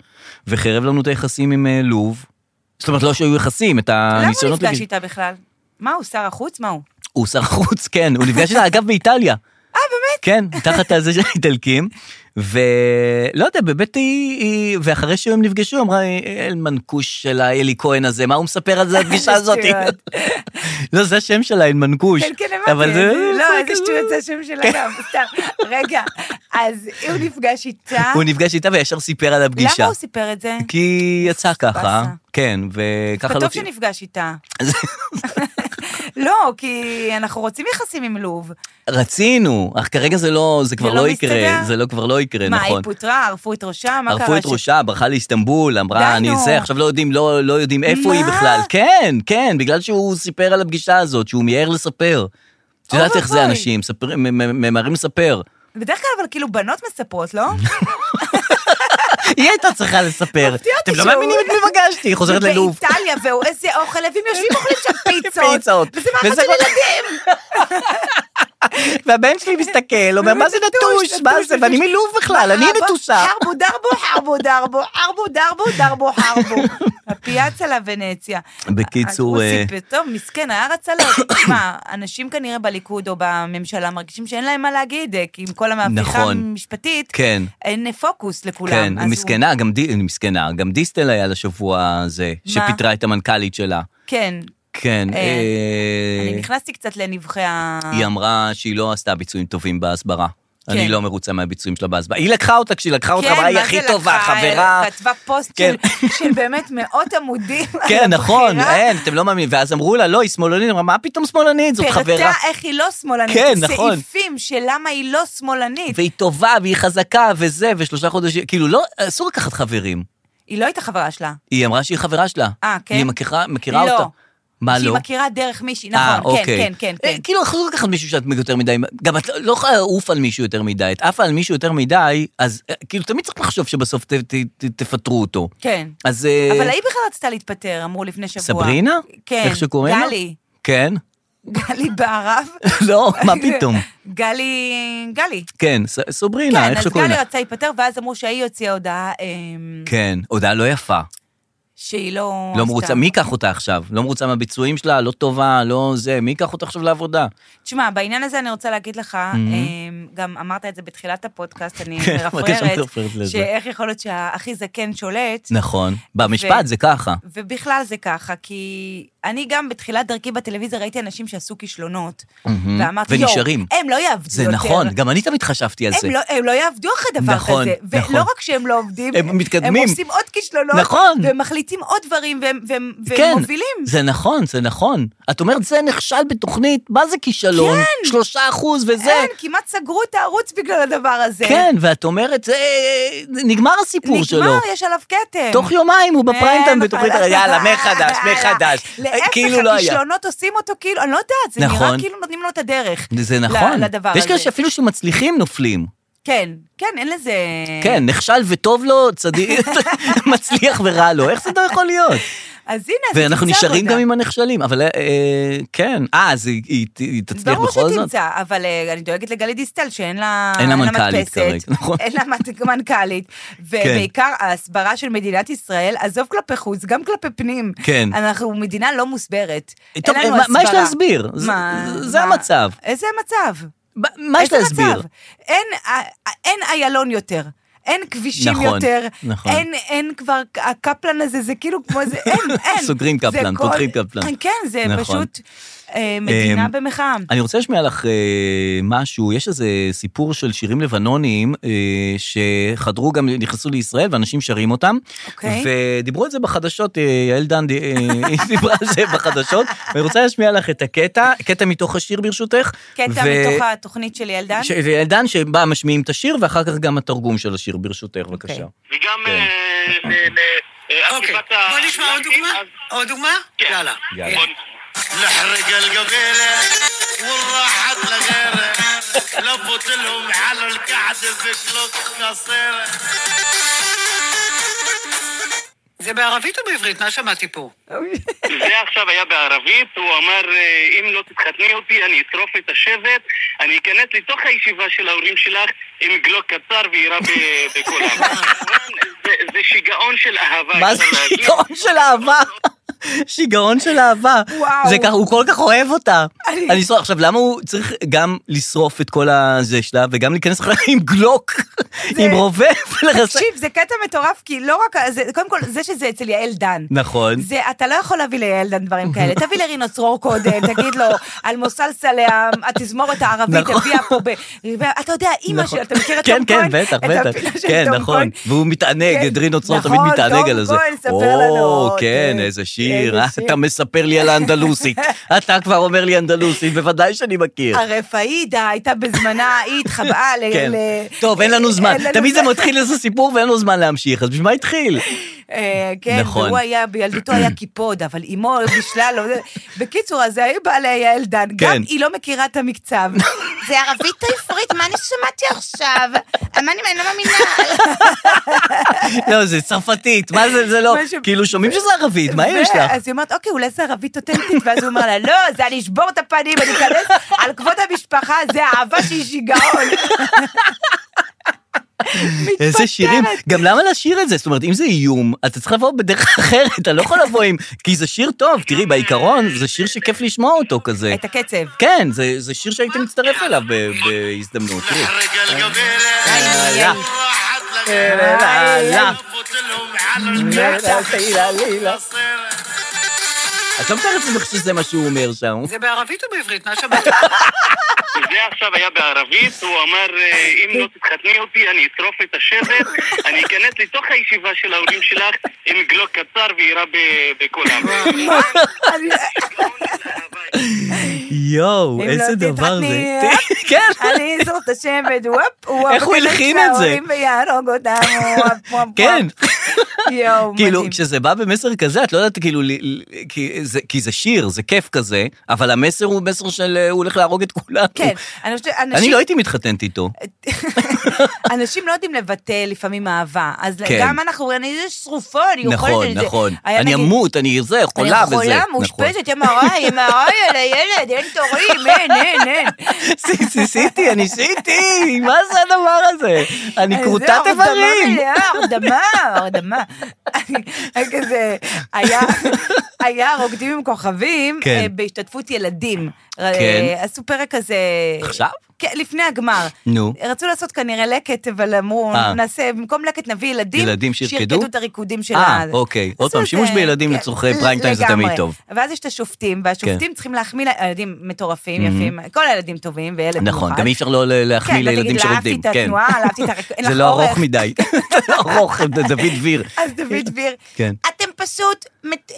וחרב לנו את היחסים עם אה, לוב. זאת אומרת, לא שהיו יחסים, את
למה הוא
הניסיונות...
נפגש
לפגיש-
איתה בכלל? מה הוא, שר החוץ? מה הוא?
הוא שר חוץ, כן, הוא נפגש איתה, אגב, באיטליה.
אה, באמת?
כן, תחת הזה של האיטלקים, ולא יודע, באמת היא, היא, ואחרי שהם נפגשו, היא אמרה, "אה, אל מנקוש של האלי כהן הזה, מה הוא מספר על זה, הפגישה הזאת?
שטויות.
לא, זה השם שלה, אל מנקוש.
כן, כן, הבנתי.
אבל זה... כאילו- כן.
לא, איזה שטויות זה השם שלה גם, סתם. רגע, אז הוא נפגש איתה.
הוא נפגש כן, איתה וישר סיפר על הפגישה.
למה הוא סיפר את זה?
כי יצא ככה,
פסה.
כן, וככה לא...
כתוב שנפגש איתה. לא, כי אנחנו רוצים יחסים עם לוב.
רצינו, אך כרגע זה לא, זה כבר
לא
לא
מסתדר?
יקרה, זה לא כבר לא יקרה,
מה, היא
נכון.
פוטרה? ערפו את ראשה? מה קרה?
ערפו את
ש-
ראשה, ברחה לאיסטנבול, אמרה,
די,
אני
נו."
זה, עכשיו לא יודעים, לא, לא יודעים איפה
מה?
היא בכלל. כן, כן, בגלל שהוא סיפר על הפגישה הזאת, שהוא מיהר לספר. את יודעת איך זה
ואבוי.
אנשים, מספר- מ- מ- ממהרים לספר.
בדרך כלל, אבל כאילו בנות מספרות, לא?
היא הייתה צריכה לספר.
מפתיע אותי
אתם לא
שהוא-
מאמינים את מי פגשתי, היא חוזרת ללוב.
באיטליה, והוא איזה אוכל, הם יושבים אוכלים שם פיצות.
פיצות.
וזה מאכל
וזה
של
כל-
ילדים.
והבן שלי מסתכל, אומר, מה זה נטוש? מה זה? ואני מלוב בכלל, אני
חרבו-
נטושה.
חרבו דרבו, חרבו דרבו, חרבו דרבו, דרבו חרבו. הפיאצה לוונציה.
בקיצור,
הוא
אה,
סיפר, טוב, מסכן, הארץ עליו. תשמע, אנשים כנראה בליכוד או בממשלה מרגישים שאין להם מה להגיד, אה, כי עם כל המהפכה
נכון.
המשפטית,
כן.
אין פוקוס לכולם.
כן,
אז הוא-
מסכנה, גם די- מסכנה, גם דיסטל היה לשבוע הזה,
מה?
שפיטרה את המנכ"לית שלה.
כן.
כן.
אה,
אה,
אני נכנסתי קצת לנבחי ה...
היא אמרה שהיא לא עשתה ביצועים טובים בהסברה. אני לא מרוצה מהביצועים שלה בהסברה. היא לקחה אותה כשהיא לקחה אותה,
כן,
אמרה, היא
מה
הכי
זה
טובה,
לקחה?
חברה.
כתבה פוסט
כן.
של- של באמת מאות עמודים. על
כן, נכון,
הבחירה.
אין, אתם לא מאמינים. ואז אמרו לה, לא, היא שמאלנית. אמרה, מה פתאום שמאלנית? זאת
פירטה
חברה.
איך היא לא שמאלנית.
כן, נכון.
סעיפים של למה היא לא שמאלנית.
והיא טובה, והיא חזקה, וזה, ושלושה חודשים. כאילו, לא, אסור לקחת חברים.
היא לא הייתה חברה שלה.
היא אמרה שהיא חברה שלה.
אה, כן?
היא מכירה, מכירה
לא.
אותה. מה
שהיא
לא?
מכירה דרך מישהי,
אה,
נכון, כן,
אוקיי.
כן, כן,
אה,
כן.
כאילו, אסור לקחת מישהו שאת יותר מדי, גם את לא יכולה לעוף על מישהו יותר מדי, את עפה על מישהו יותר מדי, אז אה, כאילו, תמיד צריך לחשוב שבסוף ת- ת- ת- תפטרו אותו.
כן.
אז... אה,
אבל היא בכלל רצתה להתפטר, אמרו לפני שבוע.
סברינה?
כן.
איך שקוראים לה?
גלי.
כן.
גלי בערב.
לא, מה פתאום.
גלי, גלי.
כן, ס- סוברינה,
כן,
איך
אז
שקוראים
גלי
לה.
רצה להתפטר, ואז אמרו שהיא הוציאה הודעה אמ,
כן, הודעה לא יפה.
שהיא לא...
לא
עשתה.
מרוצה, מי ייקח אותה עכשיו? לא מרוצה מהביצועים שלה, לא טובה, לא זה, מי ייקח אותה עכשיו לעבודה?
תשמע, בעניין הזה אני רוצה להגיד לך, אמ, גם אמרת את זה בתחילת הפודקאסט, אני
כן, מרגיש שאני מרפררת
מרפררת,
לזה.
שאיך יכול להיות שהכי זקן שולט,
נכון. במשפט זה ככה.
ובכלל זה ככה, כי אני גם בתחילת דרכי בטלוויזיה ראיתי אנשים שעשו כישלונות,
מהמם.
ואמרתי,
ונשארים.
יואו, הם לא יעבדו
זה
יותר.
נכון, גם אני תמיד חשבתי על זה.
הם לא, הם לא יעבדו אחרי דבר
נכון,
כזה.
נכון.
ולא רק שהם לא עובדים,
הם מתקדמים.
הם עושים עוד כישלונות,
נכון.
והם מחליטים עוד דברים, והם, והם, והם
כן,
מובילים.
זה נכון, זה נכון. את אומרת, זה נכשל בתוכנית, מה זה כישלון? כן. שלושה אחוז וזה.
כן, כמעט סגרו את הערוץ בגלל הדבר הזה.
כן, ואת אומרת, זה נגמר הסיפור
נגמר,
שלו.
יש עליו כתם.
תוך יומיים הוא בפריים-טיים
אין,
בתוכנית,
אבל- אה,
יאללה, מחדש, מחדש.
להפך,
כאילו לא היה.
הכישלונות עושים אותו כאילו, אני לא יודעת, זה נראה
נכון.
כאילו נותנים לו את הדרך.
זה
ל-
נכון.
לדבר
ויש כאלה
הזה.
שאפילו שמצליחים נופלים.
כן, כן, אין לזה...
כן, נכשל וטוב לו, צדיק, מצליח ורע לו, איך זה לא יכול להיות?
אז הנה, אז
ואנחנו
תמצא
נשארים
עבודה.
גם עם הנכשלים, אבל אה, אה, כן, אה, אז היא- היא היא תצליח
ברור
בכל זאת?
שתמצא, אבל אה, אני דואגת לגלית דיסטל, שאין לה...
אין לה מנכ"לית
מדפסת,
כרגע, נכון. כן.
אין לה מת- מנכ"לית. ובעיקר ההסברה של מדינת ישראל, עזוב כלפי חוץ, גם כלפי פנים.
כן.
אנחנו מדינה לא מוסברת. אין
טוב, אה,
לנו
מה- מה יש
הסברה.
להסביר? זה-
מה-
זה
מה-
המצב.
איזה מצב?
מה יש
איזה
להסביר?
מצב? אין, אה, אין איילון יותר. אין כבישים
נכון,
יותר,
נכון.
אין, אין כבר, הקפלן הזה, זה כאילו כמו איזה, אין, אין.
סוגרים
זה
קפלן,
כל-
פותחים קפלן.
כן, זה
נכון.
פשוט אה, מדינה
אמ,
במחאה.
אני רוצה לשמיע לך אה, משהו, יש איזה סיפור של שירים לבנונים אה, שחדרו גם, נכנסו לישראל ואנשים שרים אותם.
אוקיי.
ודיברו על זה בחדשות, אה, יעל דן אה, היא דיברה על זה בחדשות, ואני רוצה להשמיע לך את הקטע, קטע מתוך השיר ברשותך.
קטע מתוך התוכנית של ילדן.
ש- יעל דן שבה משמיעים את השיר ואחר כך גם התרגום של השיר ברשותך,
אוקיי.
בבקשה.
וגם...
כן.
אה, ל- ל- אה,
اوكي
עקיפת ה-
بوليش ما
אז-
ودقمه ودقمه لا لا
יאללה.
בוא-
نحرق القبيله والراحة لغيره لبت لهم على القعد بكلوك قصيره זה בערבית או בעברית? מה שמעתי פה?
זה עכשיו היה בערבית, הוא אמר, אה, אם לא תתחתני אותי, אני אטרוף את השבט, אני אכנס לתוך הישיבה של ההורים שלך עם גלוק קצר ויירה ב- בכל העם. זה- זה שיגעון של אהבה.
מה זה
אפשר להגיד.
שיגעון של אהבה? שיגעון של אהבה.
וואו.
זה ככה, הוא כל כך אוהב אותה.
אני-
אני שורף, עכשיו, למה הוא צריך גם לשרוף את כל הזה שלה, וגם להיכנס אחריה עם גלוק, עם רובה, ולרסק?
תקשיב, זה קטע מטורף, כי לא רק, זה- קודם כל, זה שזה אצל יעל דן.
נכון.
זה, אתה לא יכול להביא ליעל דן דברים כאלה. תביא לרינו צרור קודם, תגיד לו, על מוסלסלה, התזמורת הערבית
נכון.
הביאה פה ב... אתה יודע, אימא
נכון.
שלו, אתה מכיר את
כן,
תום
כן,
כהן?
בטח,
את
בטח.
הפינה של
כן,
תום
נכון.
כהן?
והוא מתענג,
כן,
דרינו צרור
נכון,
תמיד מתענג
תום
על זה.
כהן, ספר
או,
לנו,
כן,
כן,
איזה שיר.
איזה
אה,
שיר.
אתה מספר לי על האנדלוסית. אתה כבר אומר לי אנדלוסית, בוודאי שאני מכיר.
הרפאידה הייתה בזמנה, היא התחבאה ל...
כן.
ל-
טוב, אין לנו זמן.
אה, אין לנו
תמיד זה
זמן.
מתחיל איזה סיפור ואין לו זמן להמשיך, אז בשביל מה התחיל?
אה, כן,
נכון.
והוא היה, בילדותו היה קיפוד, אבל אימו בשלל לא... בקיצור, אז היא באה ליעל דן,
כן.
גם היא לא מכירה את המקצב.
זה ערבית או עברית? מה אני שמעתי עכשיו? מה אני אני לא מאמינה?
לא, זה צרפתית, מה זה, זה לא,
משהו-
כאילו שומעים שזה ערבית, מה יש לך?
אז היא אומרת, אוקיי, אולי זה ערבית אותנטית, ואז הוא אומר לה, לא, זה אני אשבור את הפנים, אני אכנס על כבוד המשפחה, זה אהבה שהיא שיגעון.
איזה שירים,
מתפטרת.
גם למה לשיר את זה? זאת אומרת, אם זה איום, אתה צריך לבוא בדרך אחרת, אתה לא יכול לבוא עם, כי זה שיר טוב, תראי, בעיקרון, זה שיר שכיף לשמוע אותו כזה.
את הקצב.
כן, זה, זה שיר שהייתי מצטרף אליו ב- בהזדמנות, תראי.
نحرق القبيله
لا.
والراحة
لا.
لغيره لبت لهم على القعد قصيره
את לא מתארת לעצמך שזה מה שהוא אומר שם.
זה בערבית או בעברית? מה שמעתי?
זה עכשיו היה בערבית, הוא אמר, אה, אם לא תתחתני אותי אני אטרוף את השבט, אני אכנס לתוך הישיבה של ההורים שלך עם גלוק קצר ויירה ב- בכל העם.
יואו,
אם
איזה
לא
דבר
תתחתני,
זה. כן.
אני אזור את השבט, וופ, וופ.
איך הוא
אכנס
הלחין את זה?
להורים ויהרוג אותם, וופ, וופ,
כן,
וופ. יואו,
כאילו,
מדהים.
כשזה בא במסר כזה, את לא יודעת, כאילו, ל- ל- כי זה- כי זה שיר, זה כיף כזה, אבל המסר הוא מסר של אה, הוא הולך להרוג את כולנו.
כן, אני חושבת,
אני
אנשים
לא הייתי מתחתנת איתו.
אנשים לא יודעים לבטא לפעמים אהבה, אז
כן.
גם אנחנו רואים, אני איזה שרופה, אני יכולת...
נכון,
אני זה."
נכון.
היה
אני
נגיד,
אמות, אני זה,
אני
חולה בזה.
חולה,
נכון.
מאושפזת, MRI, MRI על הילד, אין תורים, אין, אין, אין.
סי- סיסיתי, אני שיתי, מה זה הדבר הזה? אני
אז
כרותת
אה, זהו, לא הרדמה
איברים.
מלאה, הרדמה, הרדמה. אני- אני כזה, היה- היה רוקדים עם כוכבים
כן.
אה, בהשתתפות ילדים. ר-
כן.
עשו פרק כזה...
עכשיו?
כן, לפני הגמר.
נו.
רצו לעשות כנראה לקט, אבל אמרו,
אה.
נעשה, במקום לקט נביא ילדים,
ילדים שירקדו?
שירקדו את הריקודים של
אה,
ה-
אוקיי. עוד
עשו
פעם,
את
שימוש
זה,
בילדים
כן,
לצורך פריים טיים זה
לגמרי.
תמיד טוב. כן.
ואז יש את השופטים, והשופטים צריכים להחמיא, ל- הילדים מטורפים, יפים, כל הילדים טובים, וילד מיוחד.
נכון, גם אי אפשר לא ל- להחמיא לילדים שרוקדים.
אה, כן, ותגיד, "לא אהבתי
כן.
את התנועה, לא אהבתי את הרק... אין
זה
לך
לא
אורך."
ארוך מדי. זה לא ארוך, דוד דביר.
אז דוד דביר,
כן.
אתם פשוט מת...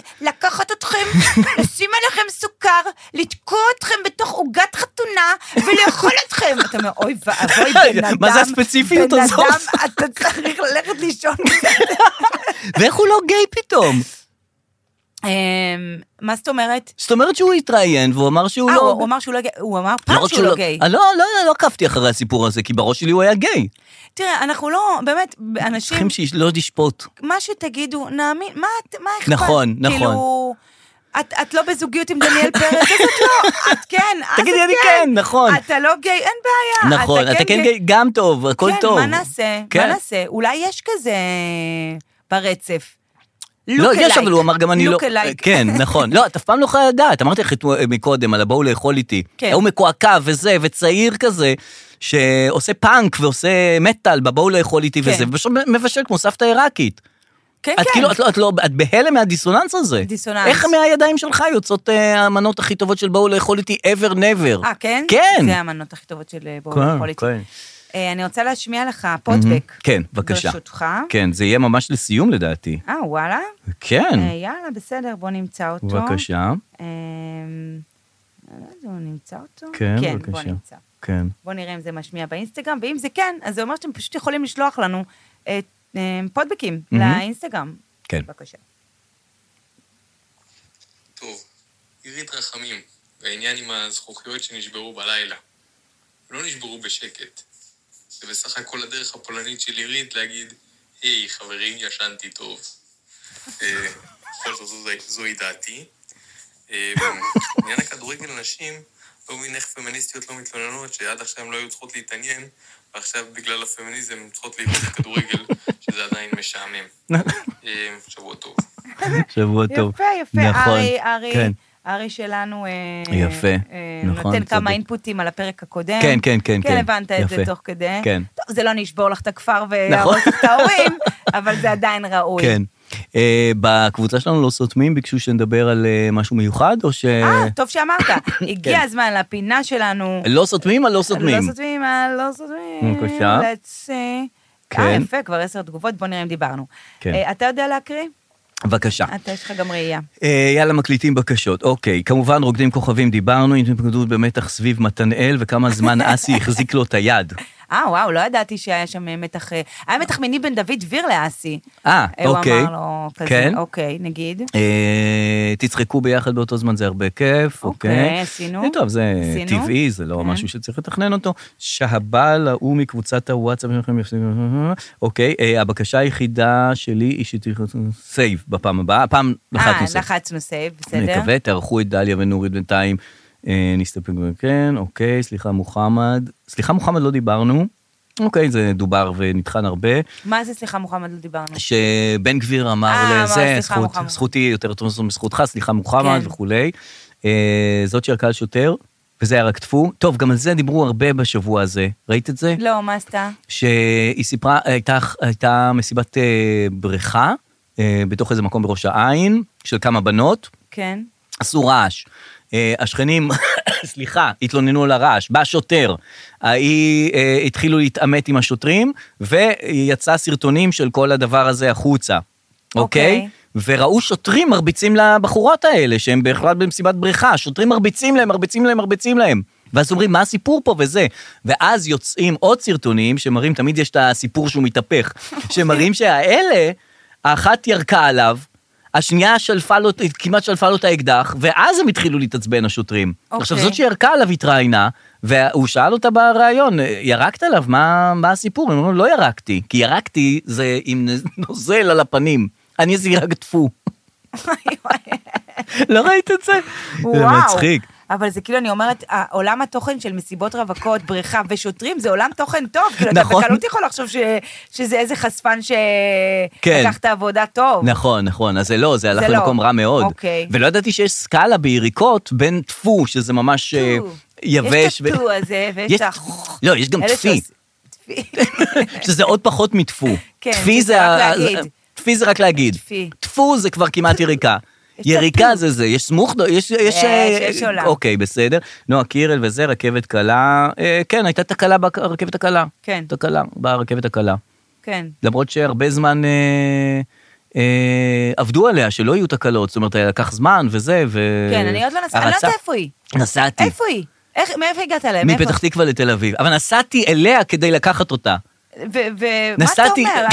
לקחת אתכם, לשים עליכם סוכר, לתקוע אתכם בתוך עוגת חתונה ולאכול אתכם.
אתה אומר, אוי ואבוי, בן אדם,
מה זה הספציפיות הזאת?
בן אדם, אתה צריך ללכת לישון.
ואיך הוא לא גיי פתאום?
אמ, מה זאת אומרת?
זאת אומרת שהוא התראיין והוא אמר שהוא
אה,
לא...
הוא אמר שהוא לא גיי, הוא אמר
לא
פעם
רק
שהוא לא גיי.
אה, לא, לא, לא עקבתי אחרי הסיפור הזה, כי בראש שלי הוא היה גיי.
כן.
לא
תראה, אנחנו לא, באמת, אנשים,
צריכים שלא תשפוט.
מה שתגידו, נאמין, מה את- מה אכפת?
נכון, נכון.
כאילו, את, את לא בזוגיות עם דניאל פרץ, אז את לא, את כן, אז את
תגידי, אני כן, נכון.
אתה לא גיי, אין בעיה.
נכון, אתה כן גיי, גם טוב, הכל טוב.
כן, מה נעשה?
כן.
מה נעשה? אולי יש כזה ברצף.
לא,
Look
יש, אבל
alike.
הוא אמר גם אני לא...
Look alike.
כן, נכון. לא, את אף פעם לא יכולה לדעת. אמרתי לך אתמול- אה, מקודם על הבואו לאכול איתי.
כן.
הוא מקועקע וזה, וצעיר כזה, שעושה פאנק ועושה מטאל בבואו לאכול איתי
כן.
וזה, ופשוט מבשל כמו סבתא עיראקית.
כן,
את
כן.
כאילו, את לא, את לא, את בהלם מהדיסוננס הזה.
דיסוננס.
איך מהידיים שלך יוצאות אה, המנות הכי טובות של בואו לאכול איתי ever never?
אה, כן?
כן.
זה המנות הכי טובות של אה, בואו
כן,
לאכול איתי.
כן.
אה, אני רוצה להשמיע לך פודבק.
כן, בבקשה.
ברשותך.
כן, זה יהיה ממש לסיום לדעתי.
אה, וואלה?
כן,
אה, יאללה, בסדר, בוא נמצא אותו.
בבקשה.
אה, לא יודע, הוא נמצא אותו?
כן,
כן, בוא
בבקשה.
נמצא.
כן.
בואו נראה אם זה משמיע באינסטגרם, ואם זה כן, אז זה אומר שאתם פשוט יכולים לשלוח לנו אה, אה, פודבקים
מהמם.
לאינסטגרם.
כן.
בבקשה.
טוב, עירית רחמים, והעניין עם הזכוכיות שנשברו בלילה. לא נשברו בשקט. זה בסך הכל הדרך הפולנית של עירית להגיד, היי, חברים, ישנתי טוב. אה, בכל זאת, זו- זוהי דעתי. אה, בעניין הכדורגל נשים, לא מבין איך פמיניסטיות לא מתלוננות, שעד עכשיו הן לא היו צריכות להתעניין, ועכשיו בגלל הפמיניזם הן צריכות לראות כדורגל, שזה עדיין משעמם.
נכון. כן.
אה, שבוע טוב.
שבוע טוב.
יפה, יפה.
נכון,
ארי, ארי,
כן.
ארי שלנו, אה,
יפה,
אה,
נכון,
נותן
צודק.
כמה אינפוטים על הפרק הקודם.
כן, כן, כן,
כן,
כן,
הבנת את זה
יפה.
תוך כדי.
כן.
טוב, זה לא נשבור לך את הכפר
נכון.
ולהרוס את ההורים, אבל זה עדיין ראוי.
כן. אה, בקבוצה שלנו לא סותמים, ביקשו שנדבר על אה, משהו מיוחד, או ש...
אה, טוב שאמרת. הגיע הזמן לפינה שלנו.
כן. לא סותמים על לא
לא
סותמים.
סותמים, אה, לא סותמים.
בבקשה.
let's see.
כן.
אה, יפה, כבר עשר תגובות, בוא נראה אם דיברנו.
כן.
אה, אתה יודע להקריא?
בבקשה.
אתה, יש לך גם ראייה.
אה, יאללה, מקליטים בקשות. אוקיי, כמובן, רוקדים כוכבים דיברנו, התמקדות במתח סביב מתנאל, וכמה זמן אסי החזיק לו את היד.
אה, וואו, לא ידעתי שהיה שם אה, מתח... אה, היה מתח מיני בין דוד דביר לאסי.
אה,
אה,
אוקיי.
הוא אמר לו כזה,
כן.
אוקיי, נגיד.
אה, תצחקו ביחד באותו זמן, זה הרבה כיף, אוקיי.
אוקיי, עשינו.
אה, טוב, זה
עשינו.
טבעי, זה לא
כן.
משהו שצריך לתכנן אותו. שהבעל ההוא מקבוצת הוואטסאפ שלכם יפסיק... אוקיי, אה, הבקשה היחידה שלי היא שתלכו... סייב בפעם הבאה, הפעם לחצנו
אה,
סייב.
לחצנו סייב,
אני
בסדר?
מקווה, תערכו את דליה ונורית בינתיים. אה, נסתפק ב... כן, אוקיי, סליחה מוחמד. סליחה מוחמד, לא דיברנו. אוקיי, זה דובר ונטחן הרבה.
מה זה, סליחה, מוחמד, לא דיברנו.
שבן גביר
אה,
אמר
אמר,
לזה,
"סליחה,
זכות-
מוחמד."
זכותי יותר טוב מזכותך, סליחה מוחמד
כן.
וכולי. אה, זאת שירקה על שוטר, וזה היה רק טפו. טוב, גם על זה דיברו הרבה בשבוע הזה, ראית את זה?
לא, מה עשתה?
שהיא סיפרה, הייתה, הייתה מסיבת אה, בריכה, אה, בתוך איזה מקום בראש העין, של כמה בנות,
כן.
עשו רעש. אה, השכנים, סליחה, התלוננו על הרעש, בא שוטר, ההיא, אה, התחילו להתעמת עם השוטרים, ויצא סרטונים של כל הדבר הזה החוצה, אוקיי?
אוקיי.
וראו שוטרים מרביצים לבחורות האלה, שהם בכלל במסיבת בריכה, שוטרים מרביצים להם, מרביצים להם, מרביצים להם. ואז אומרים, מה הסיפור פה וזה? ואז יוצאים עוד סרטונים שמראים, תמיד יש את הסיפור שהוא מתהפך, שמראים שהאלה, האחת ירקה עליו, השנייה שלפה לו, כמעט שלפה לו את האקדח, ואז הם התחילו להתעצבן, השוטרים.
אוקיי.
עכשיו, זאת שירקה עליו התראיינה, והוא שאל אותה בריאיון, ירקת עליו, מה, מה הסיפור? הם אומרים, לא ירקתי, כי ירקתי זה עם נוזל על הפנים. אני איזה ירק טפו. לא ראית את זה? זה
וואו.
מצחיק.
אבל זה כאילו, אני אומרת, ה- עולם התוכן של מסיבות רווקות, בריכה ושוטרים, זה עולם תוכן טוב. כאילו, אתה
נכון.
בקלות יכול לחשוב ש- שזה איזה חשפן
כן.
שלקח את העבודה טוב.
נכון, נכון, אז זה לא, זה הלך
זה לא.
למקום רע מאוד.
אוקיי.
ולא ידעתי שיש סקאלה ביריקות בין טפו, שזה ממש אה,
טו.
יבש.
יש את
ו-
הטו הזה, ויש
יש-
את ה...
לא, יש גם
אלה
טפי.
שעוש- טפי.
שזה עוד פחות מטפו.
כן,
טפי
זה רק
ה-
להגיד.
טפי זה רק להגיד.
טפי.
טפו זה כבר כמעט יריקה.
יש
יריקה
טפו.
זה זה, יש סמוכדו, יש...
יש,
אה,
יש עולם.
אוקיי, בסדר. נועה קירל וזה, רכבת קלה. אה, כן, הייתה תקלה ברכבת הקלה.
כן.
תקלה, ברכבת הקלה.
כן.
למרות שהרבה זמן אה, אה, עבדו עליה, שלא יהיו תקלות. זאת אומרת, לקח זמן וזה, ו...
כן, אני עוד לא נסעתי, אני לא
הרצה-
יודעת איפה היא.
נסעתי.
איפה היא? איך- מאיפה הגעת אליהם?
מפתח תקווה לתל אביב. אבל נסעתי אליה כדי לקחת אותה.
ומה אתה
נסעתי,
אומר?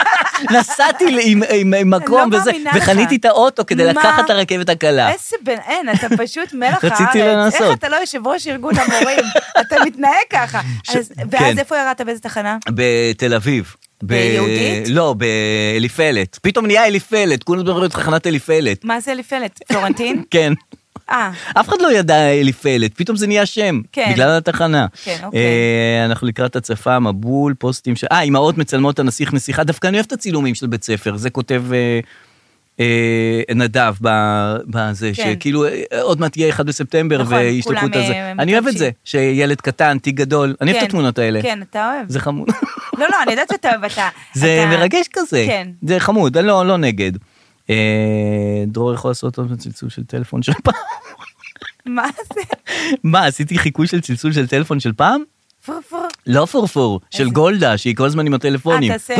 נסעתי ל- עם- עם עם מקום
לא
וזה,
מאמינה לך.
וחניתי את האוטו כדי
מה?
לקחת את הרכבת הקלה.
איזה בן, אין, אתה פשוט מלח הארץ.
רציתי לנסות.
איך אתה לא יושב ראש ארגון המורים? אתה מתנהג ככה.
ש-
אז-
כן.
ואז איפה ירדת, באיזה תחנה?
בתל אביב. ב-
ביהודית?
לא, באליפלת. פתאום נהיה אליפלת, כולם מדברים על תחנת אליפלת.
מה זה לפלט? פלורנטין?
כן.
אה,
אף אחד לא ידע אליפלת, פתאום זה נהיה שם,
כן.
בגלל התחנה.
כן, אוקיי.
אה, אנחנו לקראת הצפה, מבול, פוסטים ש... אה, אמהות מצלמות הנסיך נסיכה, דווקא אני אוהב את הצילומים של בית ספר, זה כותב אה, אה, נדב ב- בזה,
כן.
שכאילו אה, עוד מעט יהיה 1 בספטמבר
נכון,
וישלחו את
כולם,
הזה.
אה,
אני אוהב את זה,
מתרגשים.
שילד קטן, תיק גדול, אני אוהב את
כן.
התמונות האלה.
כן, אתה אוהב.
זה חמוד.
לא, לא, אני יודעת שאתה אוהב, אתה...
זה
אתה-
מרגש כזה.
כן.
זה חמוד, אני לא, לא נגד. אה, דרור יכול לעשות עוד צלצול של טלפון של פעם.
מה זה?
מה, עשיתי חיקוי של צלצול של טלפון של פעם?
פור פור.
לא פורפור, של גולדה, שהיא כל הזמן עם הטלפונים.
אה, תעשה...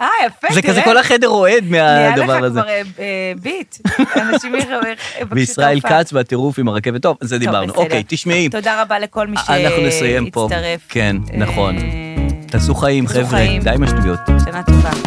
אה, יפה, תראה.
זה כזה כל החדר רועד
נהיה
מהדבר
לך
הזה.
כבר אה, אה, ביט. אנשים יבקשו
וישראל
את ההופעה.
כץ והטירוף עם הרכבת. טוב, זה
טוב,
דיברנו.
בסדר.
אוקיי, תשמעי,
תודה רבה לכל מי
אנחנו נסיים פה.
שהצטרף.
כן,
אה,
נכון. תעשו חיים,
תעשו
חבר'ה,
חיים.
די עם השטויות.
שנה טובה.